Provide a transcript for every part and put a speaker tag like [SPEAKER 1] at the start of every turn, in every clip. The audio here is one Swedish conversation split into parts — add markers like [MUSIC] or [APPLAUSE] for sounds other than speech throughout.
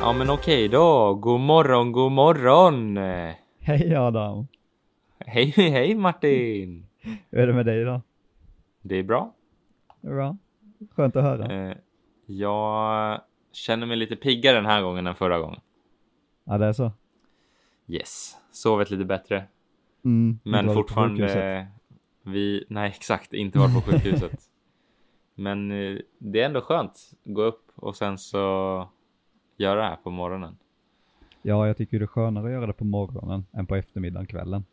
[SPEAKER 1] Ja men okej då, god morgon, god morgon!
[SPEAKER 2] [LAUGHS] Hej Adam!
[SPEAKER 1] Hej hej Martin!
[SPEAKER 2] Hur är det med dig idag?
[SPEAKER 1] Det är bra.
[SPEAKER 2] Bra. Skönt att höra.
[SPEAKER 1] Eh, Jag känner mig lite piggare den här gången än förra gången.
[SPEAKER 2] Ja, det är så.
[SPEAKER 1] Yes, sovit lite bättre.
[SPEAKER 2] Mm, inte
[SPEAKER 1] Men
[SPEAKER 2] varit på sjukhuset.
[SPEAKER 1] fortfarande... Vi, nej exakt, inte varit på
[SPEAKER 2] [LAUGHS]
[SPEAKER 1] sjukhuset. Men eh, det är ändå skönt. Gå upp och sen så göra det här på morgonen.
[SPEAKER 2] Ja, jag tycker det är skönare att göra det på morgonen än på eftermiddagen, kvällen.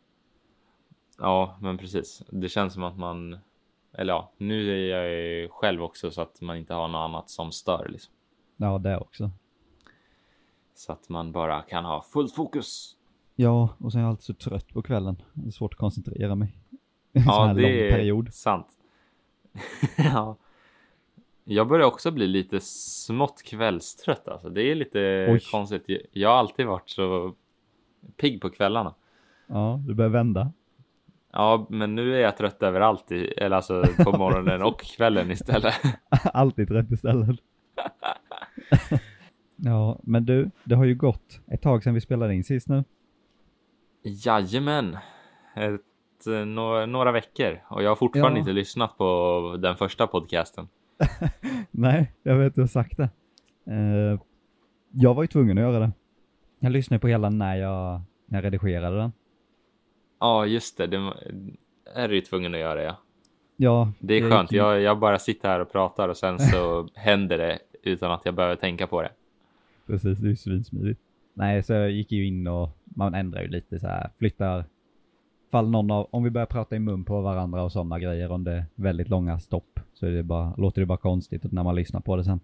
[SPEAKER 1] Ja, men precis. Det känns som att man... Eller ja, nu är jag ju själv också så att man inte har något annat som stör liksom.
[SPEAKER 2] Ja, det också.
[SPEAKER 1] Så att man bara kan ha fullt
[SPEAKER 2] [LAUGHS]
[SPEAKER 1] fokus.
[SPEAKER 2] Ja, och sen är jag alltid så trött på kvällen. Det är svårt att koncentrera mig. En sån här lång period.
[SPEAKER 1] sant. [LAUGHS] ja. Jag börjar också bli lite smått kvällstrött alltså. Det är lite
[SPEAKER 2] Oj.
[SPEAKER 1] konstigt. Jag har alltid varit så pigg på kvällarna.
[SPEAKER 2] Ja, du börjar vända. [LAUGHS]
[SPEAKER 1] Ja, men nu är jag trött överallt, i, eller alltså på morgonen
[SPEAKER 2] [LAUGHS]
[SPEAKER 1] och kvällen istället.
[SPEAKER 2] Alltid
[SPEAKER 1] [LAUGHS]
[SPEAKER 2] rätt istället. ja, men du, det har ju gått ett tag sedan vi spelade in sist nu.
[SPEAKER 1] Jajamän. Ett, eh, nå- några veckor och jag har fortfarande
[SPEAKER 2] Ja.
[SPEAKER 1] inte lyssnat på den första podcasten.
[SPEAKER 2] Nej, jag vet du har sagt det. Eh, jag var ju tvungen att göra det. Jag lyssnade på hela när jag, när jag redigerade den.
[SPEAKER 1] Ja, just det. Det är du ju tvungen att göra, ja.
[SPEAKER 2] Ja,
[SPEAKER 1] Det är
[SPEAKER 2] jag
[SPEAKER 1] skönt.
[SPEAKER 2] gick-
[SPEAKER 1] Jag, jag bara sitter här och pratar och sen
[SPEAKER 2] [LAUGHS]
[SPEAKER 1] så händer det utan att jag behöver tänka på det.
[SPEAKER 2] Precis, det är ju svinsmidigt. Nej, så jag gick ju in och man ändrar ju lite så här, flyttar, fall någon av, om vi börjar prata i mun på varandra och sådana grejer, om det är väldigt långa stopp, så är det bara, låter det bara konstigt när man lyssnar på det sen.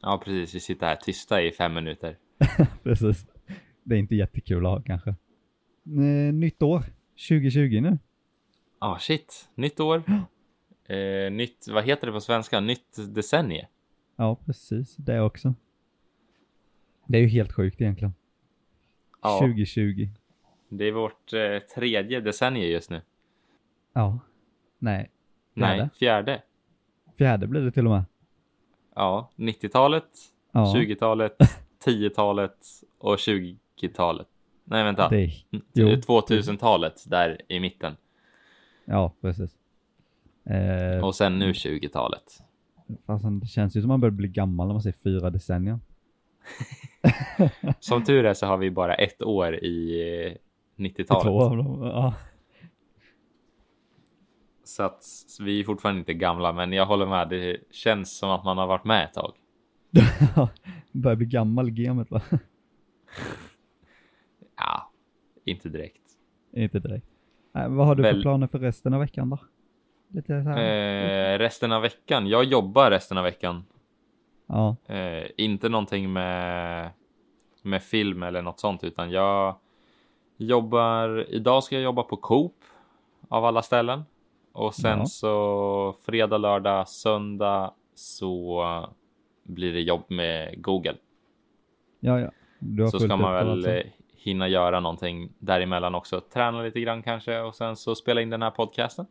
[SPEAKER 1] Ja, precis. Vi sitter här tysta i fem minuter.
[SPEAKER 2] Precis. Det är inte jättekul att ha kanske. Eh, Nytt år, 2020 nu.
[SPEAKER 1] Ja, shit. Nytt
[SPEAKER 2] [GASPS]
[SPEAKER 1] år. Eh, nytt, vad heter det på svenska? Nytt decennium.
[SPEAKER 2] Ja, precis. Det också. Det är ju helt sjukt egentligen.
[SPEAKER 1] Ja,
[SPEAKER 2] 2020.
[SPEAKER 1] det är vårt eh, tredje decennium just nu.
[SPEAKER 2] Ja. Nej,
[SPEAKER 1] Nej,
[SPEAKER 2] Fjärde.
[SPEAKER 1] fjärde.
[SPEAKER 2] fjärde blir det till och med.
[SPEAKER 1] Ja, 90-talet,
[SPEAKER 2] Ja, [LAUGHS]
[SPEAKER 1] 20-talet, 10-talet och 20-talet. Nej, vänta. Mm.
[SPEAKER 2] det är...
[SPEAKER 1] Det
[SPEAKER 2] jo.
[SPEAKER 1] är 2000-talet där i mitten
[SPEAKER 2] Ja, precis. Eh,
[SPEAKER 1] och sen nu 20-talet.
[SPEAKER 2] fasen, det känns ju som man börjar bli gammal när man säger fyra decennier.
[SPEAKER 1] Som tur är så har vi bara ett år i eh,
[SPEAKER 2] Två
[SPEAKER 1] 90-talet.
[SPEAKER 2] av dem. Ja.
[SPEAKER 1] Så att så vi är fortfarande inte gamla, men jag håller med. Det känns som att man har varit med ett tag.
[SPEAKER 2] börjar bli gammal i gamet va? [LAUGHS]
[SPEAKER 1] Ja, inte direkt.
[SPEAKER 2] Inte direkt. Nej, vad har du för
[SPEAKER 1] Väl-
[SPEAKER 2] planer för resten av veckan då? Lite så här.
[SPEAKER 1] Eh, resten av veckan. Jag jobbar resten av veckan.
[SPEAKER 2] Ja,
[SPEAKER 1] Eh, inte någonting med, med film eller något sånt, utan jag jobbar. Idag ska jag jobba på Coop av alla ställen och sen
[SPEAKER 2] Ja.
[SPEAKER 1] så fredag, lördag, söndag så blir det jobb med Google.
[SPEAKER 2] ja, ja. Du har
[SPEAKER 1] Så
[SPEAKER 2] fullt
[SPEAKER 1] ska man
[SPEAKER 2] upp då,
[SPEAKER 1] väl
[SPEAKER 2] alltså.
[SPEAKER 1] eh, hinna göra någonting däremellan också. Träna lite grann kanske och sen så spela in den här podcasten.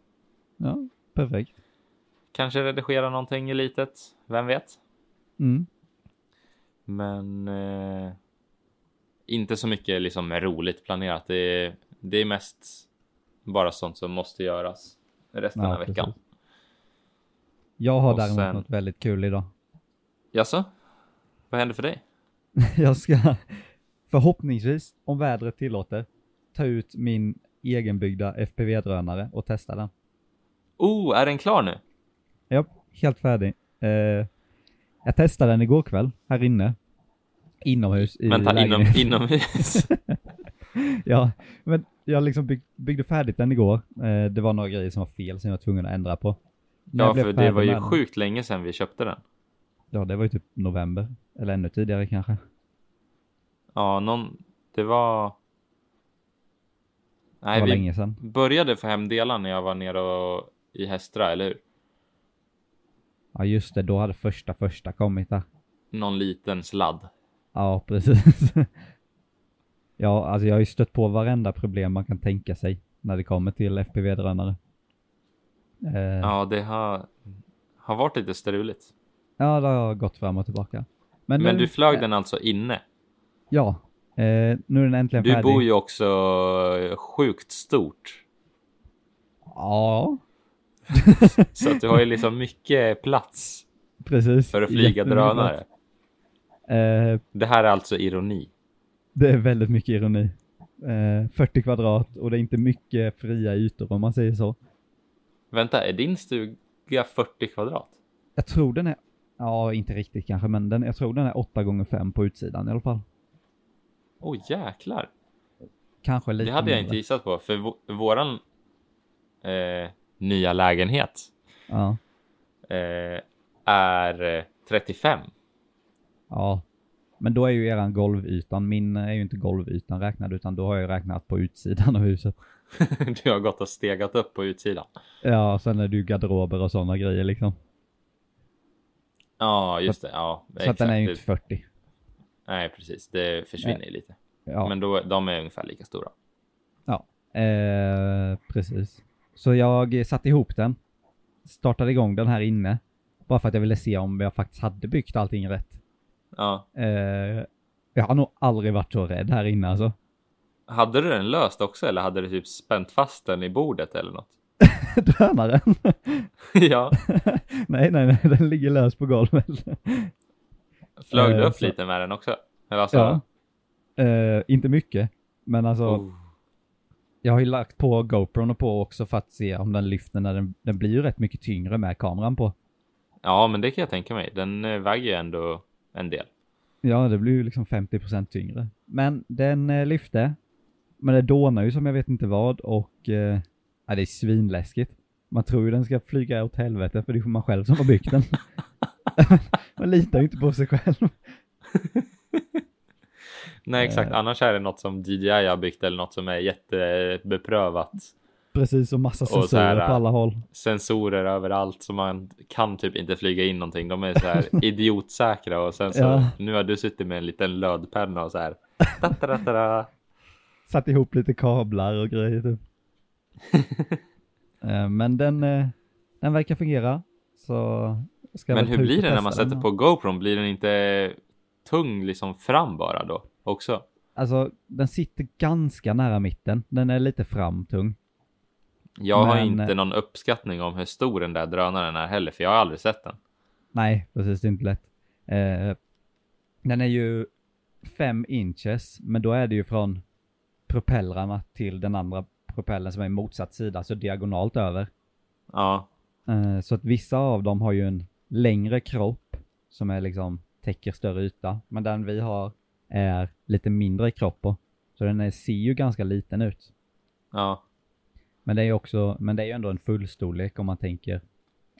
[SPEAKER 2] Ja, perfekt.
[SPEAKER 1] Kanske redigera någonting i litet. Vem vet?
[SPEAKER 2] Mm.
[SPEAKER 1] Men eh, inte så mycket liksom roligt planerat. Det är, det är mest bara sånt som måste göras resten
[SPEAKER 2] Ja,
[SPEAKER 1] av veckan.
[SPEAKER 2] precis. Jag har
[SPEAKER 1] Och
[SPEAKER 2] däremot
[SPEAKER 1] sen-
[SPEAKER 2] något väldigt kul idag. [LAUGHS]
[SPEAKER 1] Jaså? Vad händer för dig?
[SPEAKER 2] Jag ska [LAUGHS] förhoppningsvis, om vädret tillåter, ta ut min egenbyggda FPV-drönare och testa den.
[SPEAKER 1] Oh, är den klar nu?
[SPEAKER 2] Ja, helt färdig. Eh, jag testade den igår kväll, här inne. Inomhus i
[SPEAKER 1] Vänta, inom,
[SPEAKER 2] lägenheten.
[SPEAKER 1] inomhus?
[SPEAKER 2] [LAUGHS] Ja, men jag liksom bygg, byggde färdigt den igår. Eh, det var några grejer som var fel som jag var tvungen att ändra på. När
[SPEAKER 1] ja,
[SPEAKER 2] jag blev
[SPEAKER 1] för det
[SPEAKER 2] färdig
[SPEAKER 1] var ju
[SPEAKER 2] med den-
[SPEAKER 1] sjukt länge sedan vi köpte den.
[SPEAKER 2] Ja, det var ju typ november. Eller ännu tidigare kanske.
[SPEAKER 1] Ja, någon... Det var...
[SPEAKER 2] Det
[SPEAKER 1] Nej,
[SPEAKER 2] var
[SPEAKER 1] vi
[SPEAKER 2] länge sedan.
[SPEAKER 1] började få hem delar när jag var nere och, i Hästra, eller hur?
[SPEAKER 2] Ja, just det. Då hade första första kommit där.
[SPEAKER 1] Någon liten sladd.
[SPEAKER 2] Ja, [LAUGHS] precis. ja, alltså jag har ju stött på varenda problem man kan tänka sig när det kommer till FPV-drönare. Eh, ja.
[SPEAKER 1] Ja, det har, har varit lite struligt.
[SPEAKER 2] ja, det har gått fram och tillbaka. Men,
[SPEAKER 1] Men
[SPEAKER 2] nu-
[SPEAKER 1] du flög den alltså inne?
[SPEAKER 2] Ja, eh, nu är den äntligen
[SPEAKER 1] Du
[SPEAKER 2] färdig.
[SPEAKER 1] bor ju också eh, sjukt stort.
[SPEAKER 2] Ja,
[SPEAKER 1] Så att du har ju liksom mycket plats
[SPEAKER 2] precis.
[SPEAKER 1] för att flyga
[SPEAKER 2] Jättemycket
[SPEAKER 1] drönare.
[SPEAKER 2] plats. Eh,
[SPEAKER 1] Det här är alltså ironi.
[SPEAKER 2] det är väldigt mycket ironi. Eh, 40 kvadrat och det är inte mycket fria ytor om man säger så.
[SPEAKER 1] Vänta, är din stuga 40 kvadrat?
[SPEAKER 2] Jag tror den är, ja inte riktigt kanske, men den, jag tror den är 8 gånger 5 på utsidan i alla fall.
[SPEAKER 1] Åh oh, jäklar.
[SPEAKER 2] Kanske lite
[SPEAKER 1] Det hade jag
[SPEAKER 2] mindre.
[SPEAKER 1] inte gissat på. För vå- våran eh, nya lägenhet
[SPEAKER 2] Ja,
[SPEAKER 1] eh, är eh, 35.
[SPEAKER 2] ja. Men då är ju eran golvytan, min är ju inte golvytan räknad utan då har jag ju räknat på utsidan av huset.
[SPEAKER 1] [LAUGHS] Du har gått och stegat upp på utsidan.
[SPEAKER 2] Ja, sen är det ju garderober och sådana grejer liksom.
[SPEAKER 1] Ja, just det. Ja,
[SPEAKER 2] Så att den är ju
[SPEAKER 1] Det-
[SPEAKER 2] inte 40.
[SPEAKER 1] Nej, precis. Det försvinner ju lite.
[SPEAKER 2] Ja,
[SPEAKER 1] Men då, de är ungefär lika stora.
[SPEAKER 2] eh, precis. Så jag satte ihop den, startade igång den här inne, bara för att jag ville se om jag faktiskt hade byggt allting rätt.
[SPEAKER 1] Ja.
[SPEAKER 2] Eh, jag har nog aldrig varit så rädd här inne alltså. [LAUGHS]
[SPEAKER 1] Hade du den löst också eller hade du typ spänt fast den i bordet eller något? [LAUGHS]
[SPEAKER 2] Drönaren?
[SPEAKER 1] ja,
[SPEAKER 2] [LAUGHS] nej, nej, nej, den ligger lös på golvet.
[SPEAKER 1] flög du
[SPEAKER 2] Eh,
[SPEAKER 1] upp
[SPEAKER 2] så-
[SPEAKER 1] lite med den också? Eller alltså,
[SPEAKER 2] Ja. Eh, inte mycket, men alltså
[SPEAKER 1] oh,
[SPEAKER 2] jag har ju lagt på GoPron och på också för att se om den lyfter när den, den blir ju rätt mycket tyngre med kameran på.
[SPEAKER 1] ja, men det kan jag tänka mig. Den eh, väger ju ändå en del.
[SPEAKER 2] Ja, det blir ju liksom 50% tyngre. Men den eh, lyfte, men det dånar ju som jag vet inte vad och eh, ja, det är svinläskigt. Man tror ju den ska flyga åt helvete för det är ju man själv som har byggt den. [LAUGHS] man litar ju inte på sig själv.
[SPEAKER 1] Nej,
[SPEAKER 2] Eh.
[SPEAKER 1] exakt. Annars är det något som DJI har byggt eller något som är jättebeprövat.
[SPEAKER 2] Precis, och massa
[SPEAKER 1] Och så här,
[SPEAKER 2] sensorer på
[SPEAKER 1] eh,
[SPEAKER 2] alla håll.
[SPEAKER 1] Sensorer överallt som man kan typ inte flyga in någonting. De är så
[SPEAKER 2] [LAUGHS]
[SPEAKER 1] här idiotsäkra och sen så
[SPEAKER 2] Ja.
[SPEAKER 1] nu har du suttit med en liten lödpenna och så
[SPEAKER 2] [LAUGHS]
[SPEAKER 1] här. tattaratara.
[SPEAKER 2] satt ihop lite kablar och
[SPEAKER 1] [LAUGHS]
[SPEAKER 2] grejer typ. Eh, Men den, eh, den verkar fungera. Så ska jag
[SPEAKER 1] Men
[SPEAKER 2] väl
[SPEAKER 1] hur
[SPEAKER 2] ta ut
[SPEAKER 1] blir
[SPEAKER 2] och
[SPEAKER 1] det när
[SPEAKER 2] testa
[SPEAKER 1] man sätter
[SPEAKER 2] den.
[SPEAKER 1] på GoPron? Blir den inte tung liksom fram bara då också?
[SPEAKER 2] Alltså den sitter ganska nära mitten. Den är lite framtung.
[SPEAKER 1] Jag har
[SPEAKER 2] Men- eh,
[SPEAKER 1] inte någon uppskattning om hur stor den där drönaren är heller, för jag har aldrig sett den.
[SPEAKER 2] Nej, precis. Det är inte lätt. Eh, den är ju 5 inches, men då är det ju från propellrarna till den andra propellern som är i motsatt sida, så diagonalt över.
[SPEAKER 1] Ja,
[SPEAKER 2] Eh, Så att vissa av dem har ju en längre kropp som är liksom täcker större yta. Men den vi har är lite mindre i kropp på. Så den är, ser ju ganska liten ut.
[SPEAKER 1] ja,
[SPEAKER 2] Men det är ju också, men det är ju ändå en fullstorlek om man tänker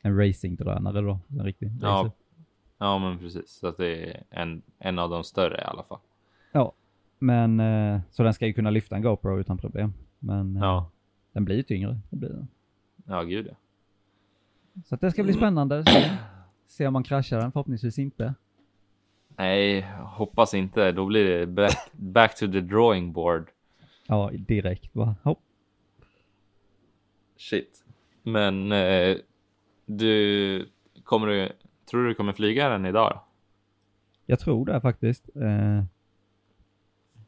[SPEAKER 2] en racingdrönare då. En riktig
[SPEAKER 1] ja.
[SPEAKER 2] racer.
[SPEAKER 1] Ja, men precis. Så att det är en, en av de större i alla fall.
[SPEAKER 2] ja. Men eh, så den ska ju kunna lyfta en GoPro utan problem. Men eh,
[SPEAKER 1] Ja,
[SPEAKER 2] den blir ju tyngre. Det blir den.
[SPEAKER 1] ja, gud ja.
[SPEAKER 2] Så att det ska bli spännande. att se. Se om man kraschar den, förhoppningsvis inte.
[SPEAKER 1] Nej, hoppas inte. Då blir det back, [LAUGHS] back to the drawing board.
[SPEAKER 2] Ja, direkt bara. Hopp.
[SPEAKER 1] Shit. Men eh, du, kommer du, tror du du kommer flyga den idag? då?
[SPEAKER 2] Jag tror det faktiskt. Eh,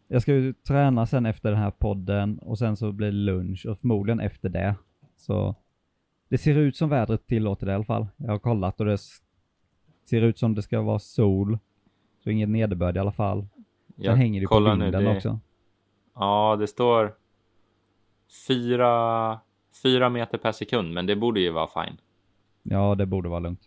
[SPEAKER 2] jag ska ju träna sen efter den här podden och sen så blir det lunch och förmodligen efter det. Så det ser ut som vädret tillåter det i alla fall. Jag har kollat och det s- ser ut som det ska vara sol. Så inget nederbörd i alla fall. Sen hänger det på
[SPEAKER 1] kollar
[SPEAKER 2] vinden
[SPEAKER 1] det-
[SPEAKER 2] också.
[SPEAKER 1] Ja, det står fyra, fyra meter per sekund, men det borde ju vara fine.
[SPEAKER 2] Ja, det borde vara lugnt.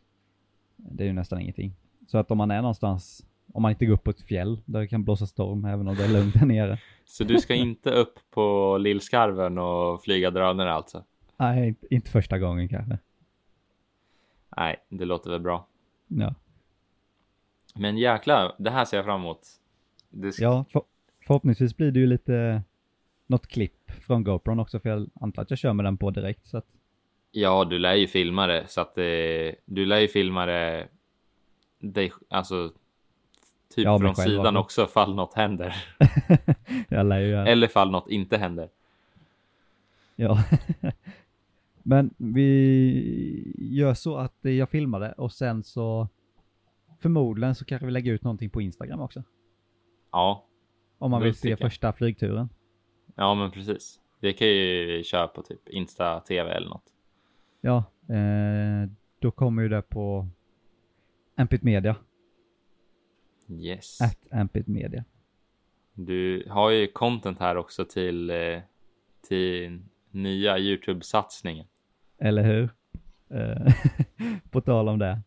[SPEAKER 2] Det är ju nästan ingenting. Så att om man är någonstans, om man inte går upp på ett fjäll där det kan blåsa storm även om det är lugnt där nere.
[SPEAKER 1] Så du
[SPEAKER 2] [LAUGHS]
[SPEAKER 1] ska inte upp på Lillskarven och flyga drönare alltså?
[SPEAKER 2] Nej, inte- inte första gången kanske.
[SPEAKER 1] Nej, det låter väl bra.
[SPEAKER 2] Ja.
[SPEAKER 1] Men jäklar, det här ser jag fram emot. Det ska...
[SPEAKER 2] Ja, för, förhoppningsvis blir det ju lite något klipp från GoPron också för jag antar att jag kör med den på direkt så att [LAUGHS]
[SPEAKER 1] ja, du lär ju filma det så att det... du lär ju filma det. Dig, alltså. Typ
[SPEAKER 2] Ja, mig
[SPEAKER 1] från
[SPEAKER 2] själv,
[SPEAKER 1] sidan
[SPEAKER 2] alltså.
[SPEAKER 1] också, fall något händer.
[SPEAKER 2] jag lär ju göra
[SPEAKER 1] Eller fall något inte händer.
[SPEAKER 2] Ja. [LAUGHS] Men vi gör så att jag filmar det och sen så förmodligen så kanske vi lägger ut någonting på Instagram också.
[SPEAKER 1] Ja,
[SPEAKER 2] Om man vill se
[SPEAKER 1] Multikan.
[SPEAKER 2] första flygturen.
[SPEAKER 1] Ja, men precis. Det kan ju vi köra på typ Insta TV eller något.
[SPEAKER 2] Ja, eh, då kommer ju det på Ampit Media.
[SPEAKER 1] Yes.
[SPEAKER 2] At Ampit Media.
[SPEAKER 1] Du har ju content här också till, eh, till nya Youtube-satsningen.
[SPEAKER 2] Eller hur? Eh, [LAUGHS] på tal om det.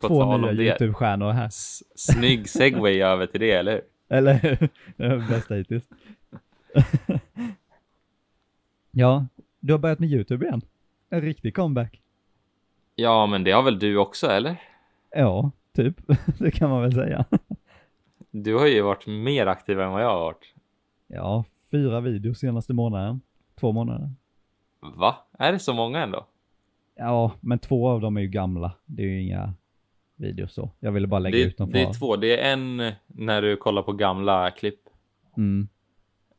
[SPEAKER 1] På
[SPEAKER 2] Två
[SPEAKER 1] tal
[SPEAKER 2] nya
[SPEAKER 1] om det.
[SPEAKER 2] YouTube-stjärnor här.
[SPEAKER 1] S- Snygg
[SPEAKER 2] [LAUGHS]
[SPEAKER 1] segway över till det, eller hur?
[SPEAKER 2] Eller hur? [LAUGHS] Det var det Bästa hittills. [LAUGHS] ja, du har börjat med YouTube igen. En riktig comeback.
[SPEAKER 1] Ja, men det har väl du också, eller?
[SPEAKER 2] Ja, typ. [LAUGHS] Det kan man väl säga.
[SPEAKER 1] Du har ju varit mer aktiv än vad jag har varit.
[SPEAKER 2] Ja, fyra videos senaste månaden. Två månader.
[SPEAKER 1] Va? Är det så många ändå?
[SPEAKER 2] Ja, men två av dem är ju gamla. Det är ju inga videos så. Jag ville bara lägga ut
[SPEAKER 1] Det,
[SPEAKER 2] dem
[SPEAKER 1] det
[SPEAKER 2] för-
[SPEAKER 1] är två. Det är en när du kollar på gamla klipp.
[SPEAKER 2] Mm.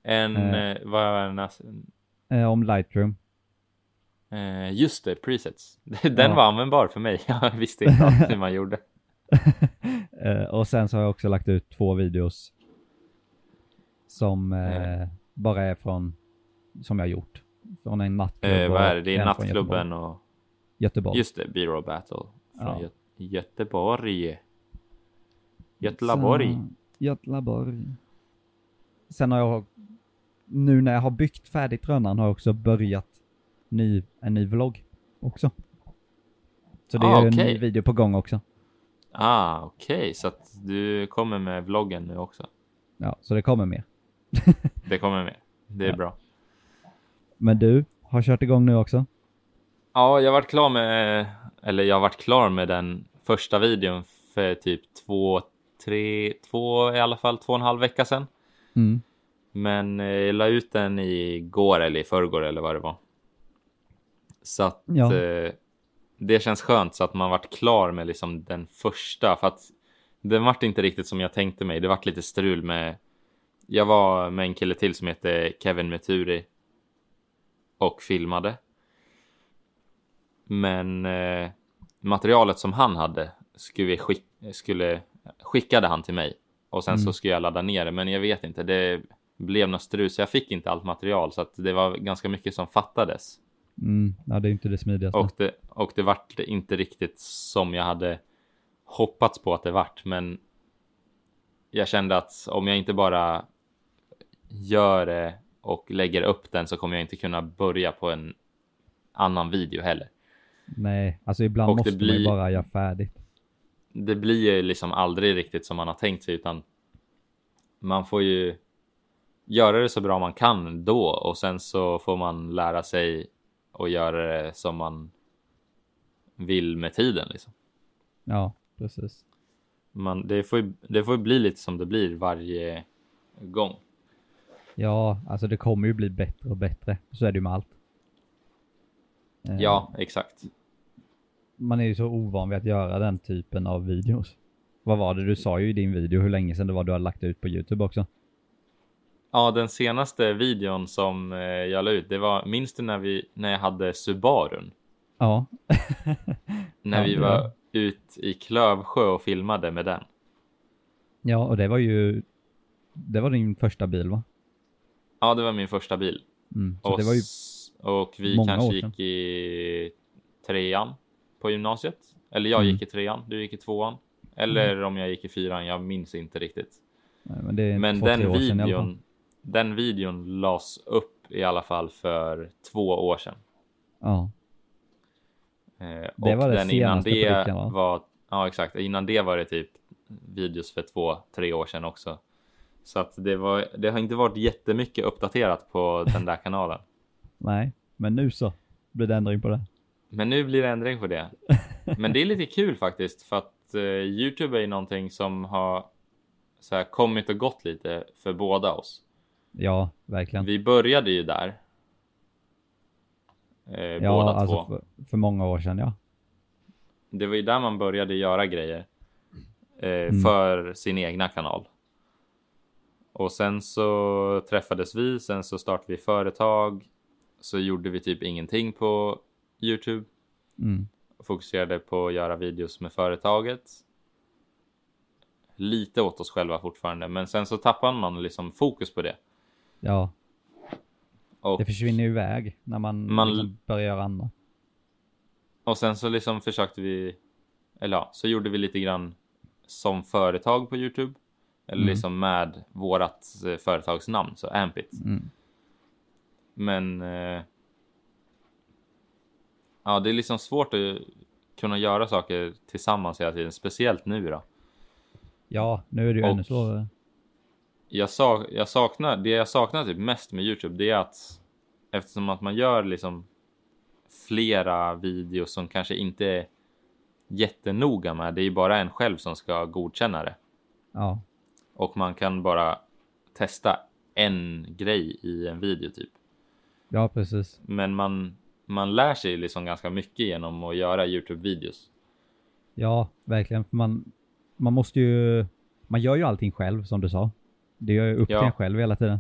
[SPEAKER 1] En,
[SPEAKER 2] Eh.
[SPEAKER 1] eh. vad var det nästa?
[SPEAKER 2] Eh, om Lightroom. [LAUGHS]
[SPEAKER 1] Eh, just det, presets. [LAUGHS] Den
[SPEAKER 2] Ja.
[SPEAKER 1] var användbar för mig. [LAUGHS] Jag visste inte alls hur man gjorde.
[SPEAKER 2] Eh, och sen så har jag också lagt ut två videos som eh, bara är från, som jag gjort. Från en nattklubb.
[SPEAKER 1] Eh, vad
[SPEAKER 2] och
[SPEAKER 1] är det? Det är
[SPEAKER 2] en från
[SPEAKER 1] nattklubben och
[SPEAKER 2] Göteborg. Göteborg.
[SPEAKER 1] just det, B-roll battle från
[SPEAKER 2] Ja.
[SPEAKER 1] Gö- Göteborg. Göteborg.
[SPEAKER 2] Sen, Götlaborg. Sen har jag, nu när jag har byggt färdigt Rönnan har jag också börjat ny, en ny vlogg också. Så det
[SPEAKER 1] Ah,
[SPEAKER 2] är ju en
[SPEAKER 1] okej.
[SPEAKER 2] ny video på gång också.
[SPEAKER 1] Ah, okej, så att du kommer med vloggen nu också.
[SPEAKER 2] Ja, så det kommer mer.
[SPEAKER 1] Det kommer med. Det är
[SPEAKER 2] Ja.
[SPEAKER 1] bra.
[SPEAKER 2] Men du har kört igång nu också?
[SPEAKER 1] Ja, jag har varit klar med, eller jag har varit klar med den första videon för typ två, tre, två i alla fall, två och en halv vecka sedan.
[SPEAKER 2] Mm.
[SPEAKER 1] Men eh, jag la ut den igår eller i förrgår eller vad det var. Så att
[SPEAKER 2] Ja.
[SPEAKER 1] eh, det känns skönt så att man varit klar med liksom den första för att den vart inte riktigt som jag tänkte mig. Det vart lite strul med. Jag var med en kille till som heter Kevin Meturi och filmade. Men eh, materialet som han hade skulle, vi skick, skulle skickade han till mig och sen
[SPEAKER 2] Mm.
[SPEAKER 1] så skulle jag ladda ner det. Men jag vet inte, det blev något strul så jag fick inte allt material så att det var ganska mycket som fattades.
[SPEAKER 2] Mm. Ja, det är inte det smidigaste.
[SPEAKER 1] Och det, och det vart inte riktigt som jag hade hoppats på att det vart, men jag kände att om jag inte bara gör det och lägger upp den så kommer jag inte kunna börja på en annan video heller.
[SPEAKER 2] Nej, alltså ibland
[SPEAKER 1] Och det
[SPEAKER 2] måste man ju
[SPEAKER 1] blir-
[SPEAKER 2] bara göra färdigt.
[SPEAKER 1] Det blir ju liksom aldrig riktigt som man har tänkt sig utan man får ju göra det så bra man kan då och sen så får man lära sig och göra det som man vill med tiden liksom.
[SPEAKER 2] Ja, precis.
[SPEAKER 1] man, det, får ju, det får ju bli lite som det blir varje gång.
[SPEAKER 2] Ja, alltså det kommer ju bli bättre och bättre. Så är det ju med allt. Eh,
[SPEAKER 1] Ja, exakt.
[SPEAKER 2] Man är ju så ovan vid att göra den typen av videos. Vad var det du sa ju i din video hur länge sedan det var du hade lagt ut på YouTube också?
[SPEAKER 1] Ja, den senaste videon som eh, jag la ut, det var, minns du när, vi, när jag hade Subarun?
[SPEAKER 2] Ja. [LAUGHS]
[SPEAKER 1] När
[SPEAKER 2] Ja,
[SPEAKER 1] vi
[SPEAKER 2] det
[SPEAKER 1] var
[SPEAKER 2] var-
[SPEAKER 1] ut i Klövsjö och filmade med den.
[SPEAKER 2] Ja, och det var ju... Det var din första bil va?
[SPEAKER 1] Ja, det var min första bil.
[SPEAKER 2] Mm. Så
[SPEAKER 1] Och,
[SPEAKER 2] det var ju...
[SPEAKER 1] s- och vi
[SPEAKER 2] många år
[SPEAKER 1] kanske
[SPEAKER 2] sedan.
[SPEAKER 1] gick i trean på gymnasiet. Eller jag
[SPEAKER 2] Mm.
[SPEAKER 1] gick i trean, du gick i tvåan. Eller om jag gick i fyran, jag minns inte riktigt.
[SPEAKER 2] Nej, eh, men det är
[SPEAKER 1] Men
[SPEAKER 2] två, tre
[SPEAKER 1] den
[SPEAKER 2] år sedan i alla fall.
[SPEAKER 1] videon, den videon lades upp i alla fall för två år sedan.
[SPEAKER 2] Ja.
[SPEAKER 1] Eh,
[SPEAKER 2] Det
[SPEAKER 1] och
[SPEAKER 2] var det
[SPEAKER 1] den innan
[SPEAKER 2] senaste
[SPEAKER 1] det
[SPEAKER 2] produkten, va?
[SPEAKER 1] var, ja exakt, innan det var det typ videos för två, tre år sedan också. Så att det, var, det har inte varit jättemycket uppdaterat på den där kanalen.
[SPEAKER 2] Nej, men nu så blir det ändring på det.
[SPEAKER 1] Men nu blir det ändring på det. Men det är lite kul faktiskt för att eh, Youtube är ju någonting som har så här, kommit och gått lite för båda oss.
[SPEAKER 2] Ja, verkligen.
[SPEAKER 1] Vi började ju där. Eh,
[SPEAKER 2] ja,
[SPEAKER 1] båda två.
[SPEAKER 2] alltså För, för många år sedan ja.
[SPEAKER 1] Det var ju där man började göra grejer. Eh,
[SPEAKER 2] Mm.
[SPEAKER 1] För sin egna kanal. Och sen så träffades vi, sen så startade vi företag. Så gjorde vi typ ingenting på Youtube.
[SPEAKER 2] Mm.
[SPEAKER 1] Fokuserade på att göra videos med företaget. lite åt oss själva fortfarande, men sen så tappar man liksom fokus på det.
[SPEAKER 2] Ja,
[SPEAKER 1] Och,
[SPEAKER 2] det försvinner ju iväg när man,
[SPEAKER 1] Man-
[SPEAKER 2] liksom börjar göra annat.
[SPEAKER 1] och sen så liksom försökte vi, eller ja, så gjorde vi lite grann som företag på Youtube. Eller
[SPEAKER 2] Mm.
[SPEAKER 1] liksom med vårat eh, företagsnamn, så Ampit.
[SPEAKER 2] Mm.
[SPEAKER 1] Men... Eh, ja, det är liksom svårt att kunna göra saker tillsammans hela tiden, speciellt nu då.
[SPEAKER 2] Ja, nu är det ju
[SPEAKER 1] Och-
[SPEAKER 2] ännu svårare.
[SPEAKER 1] jag, sa, jag saknar, det jag saknar typ mest med Youtube det är att eftersom att man gör liksom flera videos som kanske inte är jättenoga med. Det är ju bara en själv som ska godkänna det
[SPEAKER 2] Ja,
[SPEAKER 1] och man kan bara testa en grej i en video typ.
[SPEAKER 2] ja precis.
[SPEAKER 1] Men man, man lär sig liksom ganska mycket genom att göra Youtube videos.
[SPEAKER 2] Ja, verkligen. För man, man måste ju... Man gör ju allting själv, som du sa. Det gör ju upp till
[SPEAKER 1] Ja.
[SPEAKER 2] en själv hela tiden.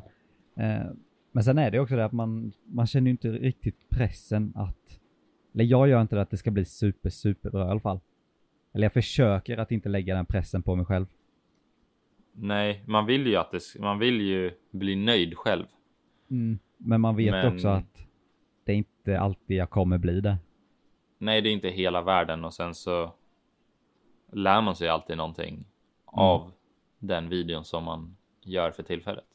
[SPEAKER 2] Eh, men sen är det också det att man, man känner ju inte riktigt pressen att... Eller jag gör inte det att det ska bli super, superbra i alla fall. Eller jag försöker att inte lägga den pressen på mig själv.
[SPEAKER 1] Nej, man vill ju att det, sk- man vill ju bli nöjd själv.
[SPEAKER 2] Mm. Men man vet
[SPEAKER 1] Men-
[SPEAKER 2] också att det är inte alltid jag kommer bli det.
[SPEAKER 1] Nej, det är inte hela världen och sen så lär man sig alltid någonting av den videon som man gör för tillfället.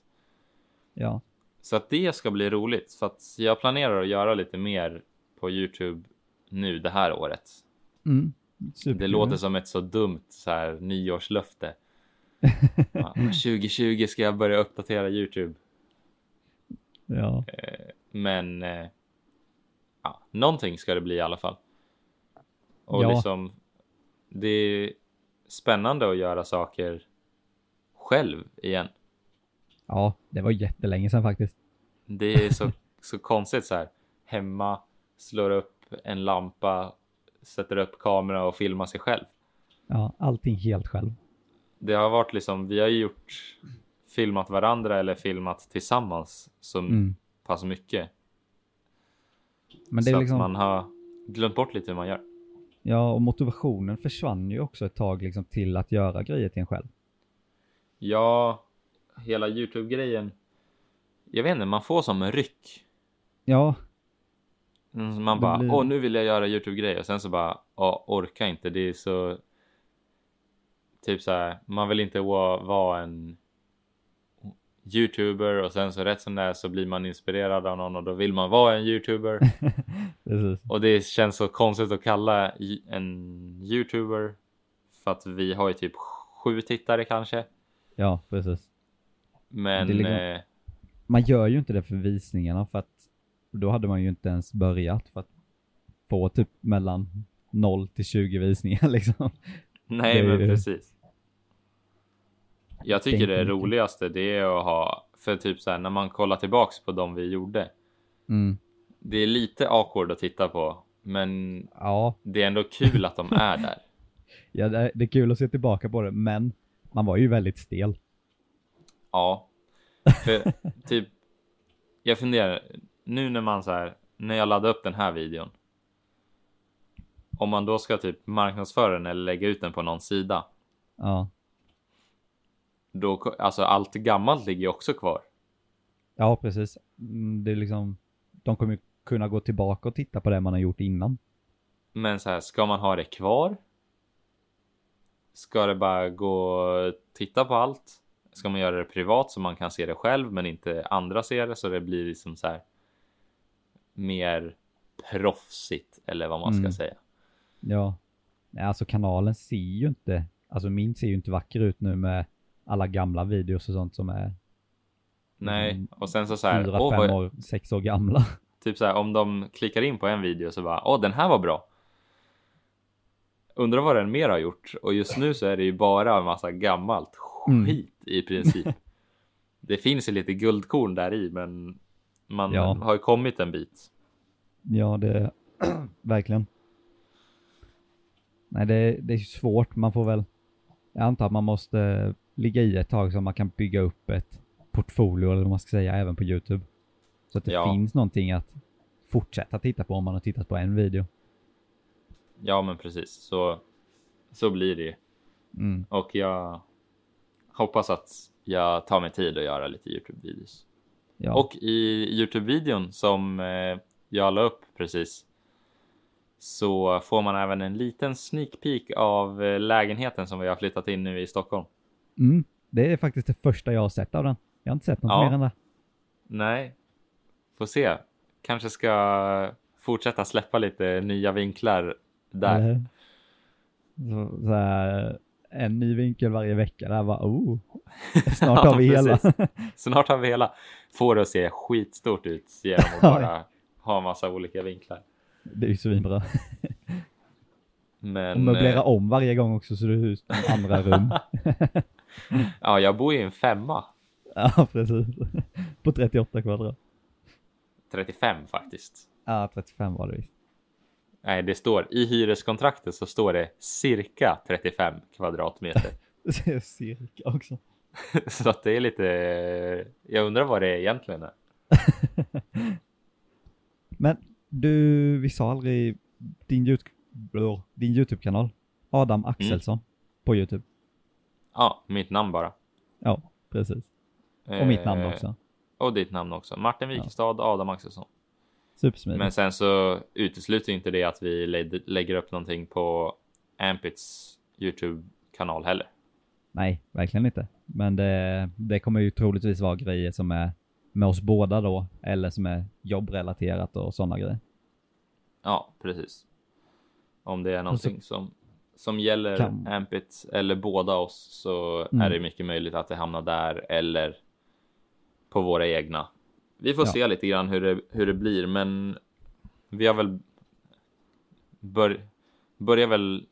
[SPEAKER 2] Ja,
[SPEAKER 1] Så att det ska bli roligt så att jag planerar att göra lite mer på Youtube nu det här året.
[SPEAKER 2] mm.
[SPEAKER 1] Det
[SPEAKER 2] superkul.
[SPEAKER 1] låter som ett så dumt så här nyårslöfte. Ja, 2020 ska jag börja uppdatera Youtube,
[SPEAKER 2] Ja,
[SPEAKER 1] men eh, ja, någonting ska det bli i alla fall. Och
[SPEAKER 2] Ja.
[SPEAKER 1] liksom, det är spännande att göra saker själv igen.
[SPEAKER 2] ja, det var jättelänge sedan faktiskt.
[SPEAKER 1] Det är
[SPEAKER 2] [LAUGHS]
[SPEAKER 1] så, så konstigt så här. Hemma, slår upp en lampa, sätter upp kamera och filmar sig själv.
[SPEAKER 2] Ja, allting helt själv.
[SPEAKER 1] Det har varit liksom, vi har ju gjort filmat varandra eller filmat tillsammans så
[SPEAKER 2] Mm.
[SPEAKER 1] pass mycket.
[SPEAKER 2] Men det
[SPEAKER 1] så
[SPEAKER 2] är liksom...
[SPEAKER 1] att man har glömt bort lite hur man gör.
[SPEAKER 2] Ja, och motivationen försvann ju också ett tag liksom till att göra grejer till en själv.
[SPEAKER 1] Ja, hela Youtube-grejen. Jag vet inte, man får som en ryck.
[SPEAKER 2] Ja,
[SPEAKER 1] Mm, Man
[SPEAKER 2] Det
[SPEAKER 1] bara,
[SPEAKER 2] blir-
[SPEAKER 1] åh nu vill jag göra Youtube-grejer och sen så bara, åh orkar inte, det är så... Typ så här, man vill inte wa- vara en YouTuber och sen så rätt som det är så blir man inspirerad av någon och då vill man vara en
[SPEAKER 2] [LAUGHS]
[SPEAKER 1] YouTuber.
[SPEAKER 2] precis.
[SPEAKER 1] och det känns så konstigt att kalla i- en YouTuber för att vi har ju typ sju tittare kanske.
[SPEAKER 2] Ja, precis.
[SPEAKER 1] Men
[SPEAKER 2] Det ligger-
[SPEAKER 1] eh,
[SPEAKER 2] Man gör ju inte det för visningarna för att då hade man ju inte ens börjat för att få typ mellan 0 till 20 visningar [LAUGHS] liksom.
[SPEAKER 1] [LAUGHS] Nej,
[SPEAKER 2] Det är
[SPEAKER 1] men
[SPEAKER 2] ju-
[SPEAKER 1] precis. Jag tycker
[SPEAKER 2] Tänker
[SPEAKER 1] det
[SPEAKER 2] mycket.
[SPEAKER 1] roligaste det är att ha, för typ så här, när man kollar tillbaks på de vi gjorde.
[SPEAKER 2] Mm.
[SPEAKER 1] Det är lite awkward att titta på, men
[SPEAKER 2] Ja,
[SPEAKER 1] det är ändå kul att
[SPEAKER 2] [LAUGHS]
[SPEAKER 1] de är där.
[SPEAKER 2] ja det det är kul att se tillbaka på det, men man var ju väldigt stel.
[SPEAKER 1] Ja, för typ. Jag funderar nu när man så här, när jag laddar upp den här videon. Om man då ska typ marknadsföra den eller lägga ut den på någon sida.
[SPEAKER 2] Ja,
[SPEAKER 1] Då, ko- alltså allt gammalt ligger ju också kvar.
[SPEAKER 2] ja precis. Mm, Det är liksom, de kommer ju kunna gå tillbaka och titta på det man har gjort innan.
[SPEAKER 1] Men så här, ska man ha det kvar? Ska det bara gå och titta på allt? Ska man göra det privat så man kan se det själv men inte andra ser det så det blir liksom så här mer proffsigt eller vad man ska
[SPEAKER 2] Mm.
[SPEAKER 1] säga.
[SPEAKER 2] Ja. Nej, alltså kanalen ser ju inte, alltså min ser ju inte vacker ut nu med alla gamla videos och sånt som är
[SPEAKER 1] Nej,
[SPEAKER 2] Mm.
[SPEAKER 1] och sen så, så här,
[SPEAKER 2] fyra,
[SPEAKER 1] åh,
[SPEAKER 2] fem
[SPEAKER 1] vad,
[SPEAKER 2] år, sex år gamla.
[SPEAKER 1] typ så här om de klickar in på en video så bara, åh den här var bra. Undrar vad den mer har gjort och just nu så är det ju bara en massa gammalt
[SPEAKER 2] Mm.
[SPEAKER 1] skit i
[SPEAKER 2] [LAUGHS]
[SPEAKER 1] princip. Det finns ju lite guldkorn där i men man
[SPEAKER 2] Ja.
[SPEAKER 1] har ju kommit en bit.
[SPEAKER 2] Ja, det [CLEARS THROAT] verkligen. Nej, det, det är svårt. Man får väl, jag antar att man måste ligga i ett tag så man kan bygga upp ett portfolio eller vad man ska säga även på Youtube. Så att det
[SPEAKER 1] Ja.
[SPEAKER 2] finns någonting att fortsätta titta på om man har tittat på en video.
[SPEAKER 1] Ja men precis så, så blir det ju.
[SPEAKER 2] Mm.
[SPEAKER 1] Och jag, hoppas att jag tar mig tid att göra lite Youtube-videos.
[SPEAKER 2] Ja.
[SPEAKER 1] Och i Youtube-videon som eh, jag la upp precis så får man även en liten sneak peek av eh, lägenheten som vi har flyttat in nu i Stockholm.
[SPEAKER 2] Mm, det är faktiskt det första jag har sett av den. Jag har inte sett något
[SPEAKER 1] Ja.
[SPEAKER 2] mer än det.
[SPEAKER 1] Nej, får se. Kanske ska fortsätta släppa lite nya vinklar där.
[SPEAKER 2] Eller hur? Så, så här, en ny vinkel varje vecka. Där var oh,
[SPEAKER 1] [LAUGHS]
[SPEAKER 2] snart har vi
[SPEAKER 1] Ja,
[SPEAKER 2] hela.
[SPEAKER 1] precis. Snart har vi hela. Får det att se skitstort ut genom
[SPEAKER 2] [LAUGHS]
[SPEAKER 1] att bara ha en massa olika vinklar.
[SPEAKER 2] [LAUGHS] det är ju svinbra. Och
[SPEAKER 1] Men,
[SPEAKER 2] möblera
[SPEAKER 1] eh,
[SPEAKER 2] om varje gång också så det är hus
[SPEAKER 1] [LAUGHS]
[SPEAKER 2] andra rum. [LAUGHS]
[SPEAKER 1] ja, jag bor ju i en femma.
[SPEAKER 2] ja, precis. På 38 kvadrat.
[SPEAKER 1] 35 faktiskt.
[SPEAKER 2] Ja, 35 var det visst.
[SPEAKER 1] Nej, det står i hyreskontraktet så står det cirka 35
[SPEAKER 2] [LAUGHS]
[SPEAKER 1] kvadratmeter.
[SPEAKER 2] Cirka också.
[SPEAKER 1] så att det är lite... Jag undrar vad det egentligen är.
[SPEAKER 2] Men du, vi sa aldrig din, Yout- blå, din YouTube-kanal. Adam
[SPEAKER 1] Mm.
[SPEAKER 2] Axelsson på YouTube.
[SPEAKER 1] Ja, mitt namn bara.
[SPEAKER 2] Ja, precis. Och mitt namn
[SPEAKER 1] Eh,
[SPEAKER 2] också.
[SPEAKER 1] Och ditt namn också. Martin Wikestad, Adam Axelsson.
[SPEAKER 2] Supersmidigt.
[SPEAKER 1] Men sen så utesluter inte det att vi lä- lägger upp någonting på Ampits YouTube-kanal heller.
[SPEAKER 2] Nej, verkligen inte. Men det, det kommer ju troligtvis vara grejer som är med oss båda då, eller som är jobbrelaterat och sådana grejer.
[SPEAKER 1] Ja, precis. Om det är någonting som, som gäller
[SPEAKER 2] Alltså- Kan-
[SPEAKER 1] Ampit eller båda oss så
[SPEAKER 2] Mm.
[SPEAKER 1] är det mycket möjligt att det hamnar där eller på våra egna. Vi får
[SPEAKER 2] Ja.
[SPEAKER 1] se lite grann hur det, hur det blir, men vi har väl bör, börjar väl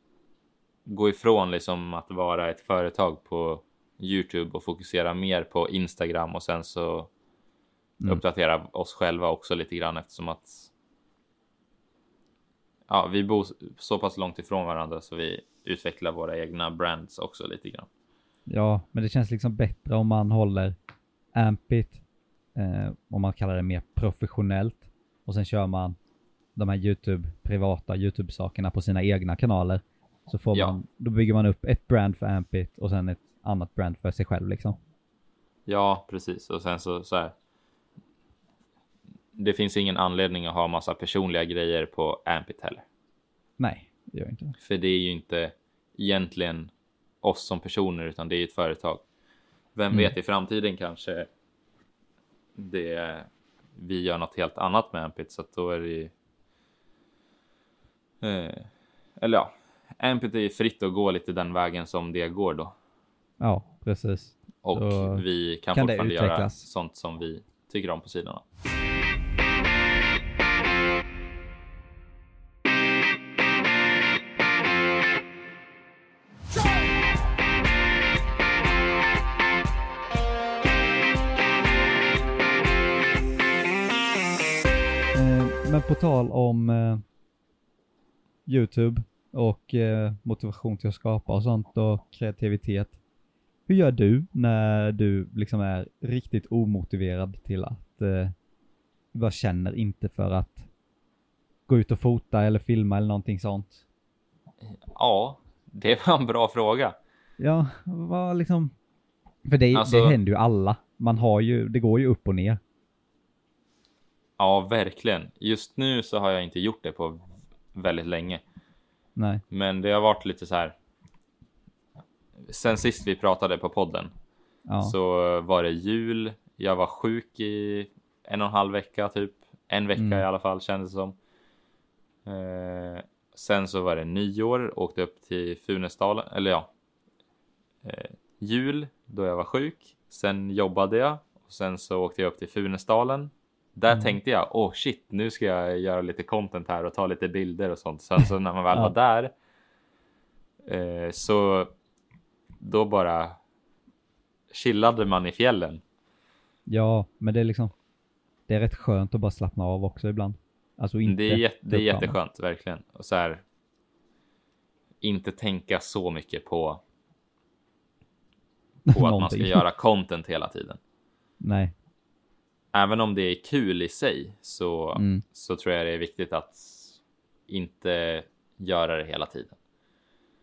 [SPEAKER 1] gå ifrån liksom att vara ett företag på Youtube och fokusera mer på Instagram och sen så
[SPEAKER 2] Mm.
[SPEAKER 1] uppdatera oss själva också lite grann eftersom att ja, vi bor så pass långt ifrån varandra så vi utvecklar våra egna brands också lite grann.
[SPEAKER 2] Ja, men det känns liksom bättre om man håller Ampit, eh, om man kallar det mer professionellt, och sen kör man de här YouTube, privata YouTube-sakerna på sina egna kanaler. Så får
[SPEAKER 1] Ja.
[SPEAKER 2] man, då bygger man upp ett brand för Ampit och sen ett annat brand för sig själv liksom.
[SPEAKER 1] Ja, precis. Och sen så, så här. Det finns ingen anledning att ha massa personliga grejer på Ampit heller,
[SPEAKER 2] Nej, det gör inte det.
[SPEAKER 1] för det är ju inte egentligen oss som personer, utan det är ju ett företag. Vem
[SPEAKER 2] Mm.
[SPEAKER 1] vet, i framtiden kanske det vi gör något helt annat med Ampit så att då är det ju. Eh, eller ja, Ampit är ju fritt att gå lite den vägen som det går då
[SPEAKER 2] Ja, precis.
[SPEAKER 1] och
[SPEAKER 2] Då
[SPEAKER 1] vi kan,
[SPEAKER 2] kan det
[SPEAKER 1] fortfarande göra
[SPEAKER 2] utvecklas.
[SPEAKER 1] sånt som vi tycker om på sidorna.
[SPEAKER 2] Eh, Men på tal om eh, YouTube och eh, motivation till att skapa och sånt och kreativitet. Hur gör du när du liksom är riktigt omotiverad till att eh, du bara känner inte för att gå ut och fota eller filma eller någonting sånt?
[SPEAKER 1] Ja, det var en bra fråga.
[SPEAKER 2] Ja, vad liksom... För det,
[SPEAKER 1] Alltså-
[SPEAKER 2] det händer ju alla. Man har ju, det går ju upp och ner.
[SPEAKER 1] Ja, verkligen. Just nu så har jag inte gjort det på väldigt länge,
[SPEAKER 2] Nej.
[SPEAKER 1] men det har varit lite så här. Sen sist vi pratade på podden
[SPEAKER 2] Ja.
[SPEAKER 1] så var det jul. Jag var sjuk i en och en halv vecka typ. En vecka
[SPEAKER 2] Mm.
[SPEAKER 1] i alla fall kändes det som. Eh, sen så var det nyår, åkte upp till Funäsdalen, eller ja. Eh, jul då jag var sjuk. Sen jobbade jag och sen så åkte jag upp till Funäsdalen. Där
[SPEAKER 2] Mm.
[SPEAKER 1] tänkte jag, åh oh shit, nu ska jag göra lite content här och ta lite bilder och sånt. Sen så när man väl
[SPEAKER 2] [LAUGHS] Ja.
[SPEAKER 1] var där eh, så då bara chillade man i fjällen.
[SPEAKER 2] Ja, men det är liksom... Det är rätt skönt att bara slappna av också ibland. Alltså inte...
[SPEAKER 1] det är, jätte, det är
[SPEAKER 2] ta upp kameran.
[SPEAKER 1] jätteskönt, verkligen. Och så här, inte tänka så mycket på, på att man ska
[SPEAKER 2] [LAUGHS] Någonting.
[SPEAKER 1] göra content hela tiden.
[SPEAKER 2] Nej.
[SPEAKER 1] Även om det är kul i sig så,
[SPEAKER 2] Mm.
[SPEAKER 1] så tror jag det är viktigt att inte göra det hela tiden.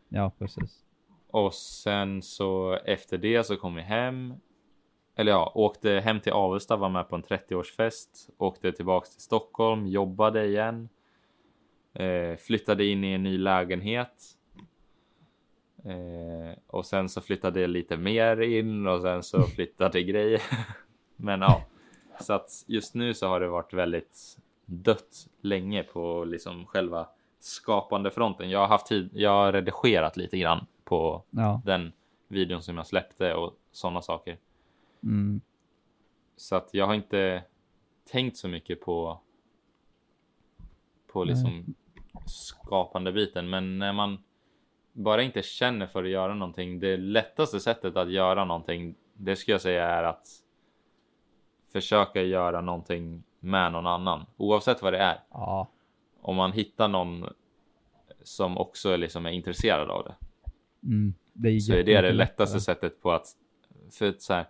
[SPEAKER 2] Ja, precis.
[SPEAKER 1] Och sen så efter det så kom vi hem. Eller ja, åkte hem till Avesta, var med på en 30-årsfest. Åkte tillbaks till Stockholm, jobbade igen. Eh, flyttade in i en ny lägenhet. Eh, och sen så flyttade jag lite mer in och sen så flyttade grejer. [LAUGHS] Men ja, så att just nu så har det varit väldigt dött länge på liksom själva skapande fronten. Jag har haft tid. Jag har redigerat lite grann på
[SPEAKER 2] Ja.
[SPEAKER 1] den videon som jag släppte och sådana saker.
[SPEAKER 2] Mm.
[SPEAKER 1] Så att jag har inte tänkt så mycket på. På
[SPEAKER 2] Nej.
[SPEAKER 1] liksom skapande biten, men när man bara inte känner för att göra någonting. Det lättaste sättet att göra någonting, det skulle jag säga är att försöka göra någonting med någon annan, oavsett vad det är.
[SPEAKER 2] ja.
[SPEAKER 1] Om man hittar någon som också liksom är intresserad av det
[SPEAKER 2] Mm. Det är
[SPEAKER 1] så är det det
[SPEAKER 2] jättemycket
[SPEAKER 1] lättaste
[SPEAKER 2] lättare.
[SPEAKER 1] sättet på att för att så här.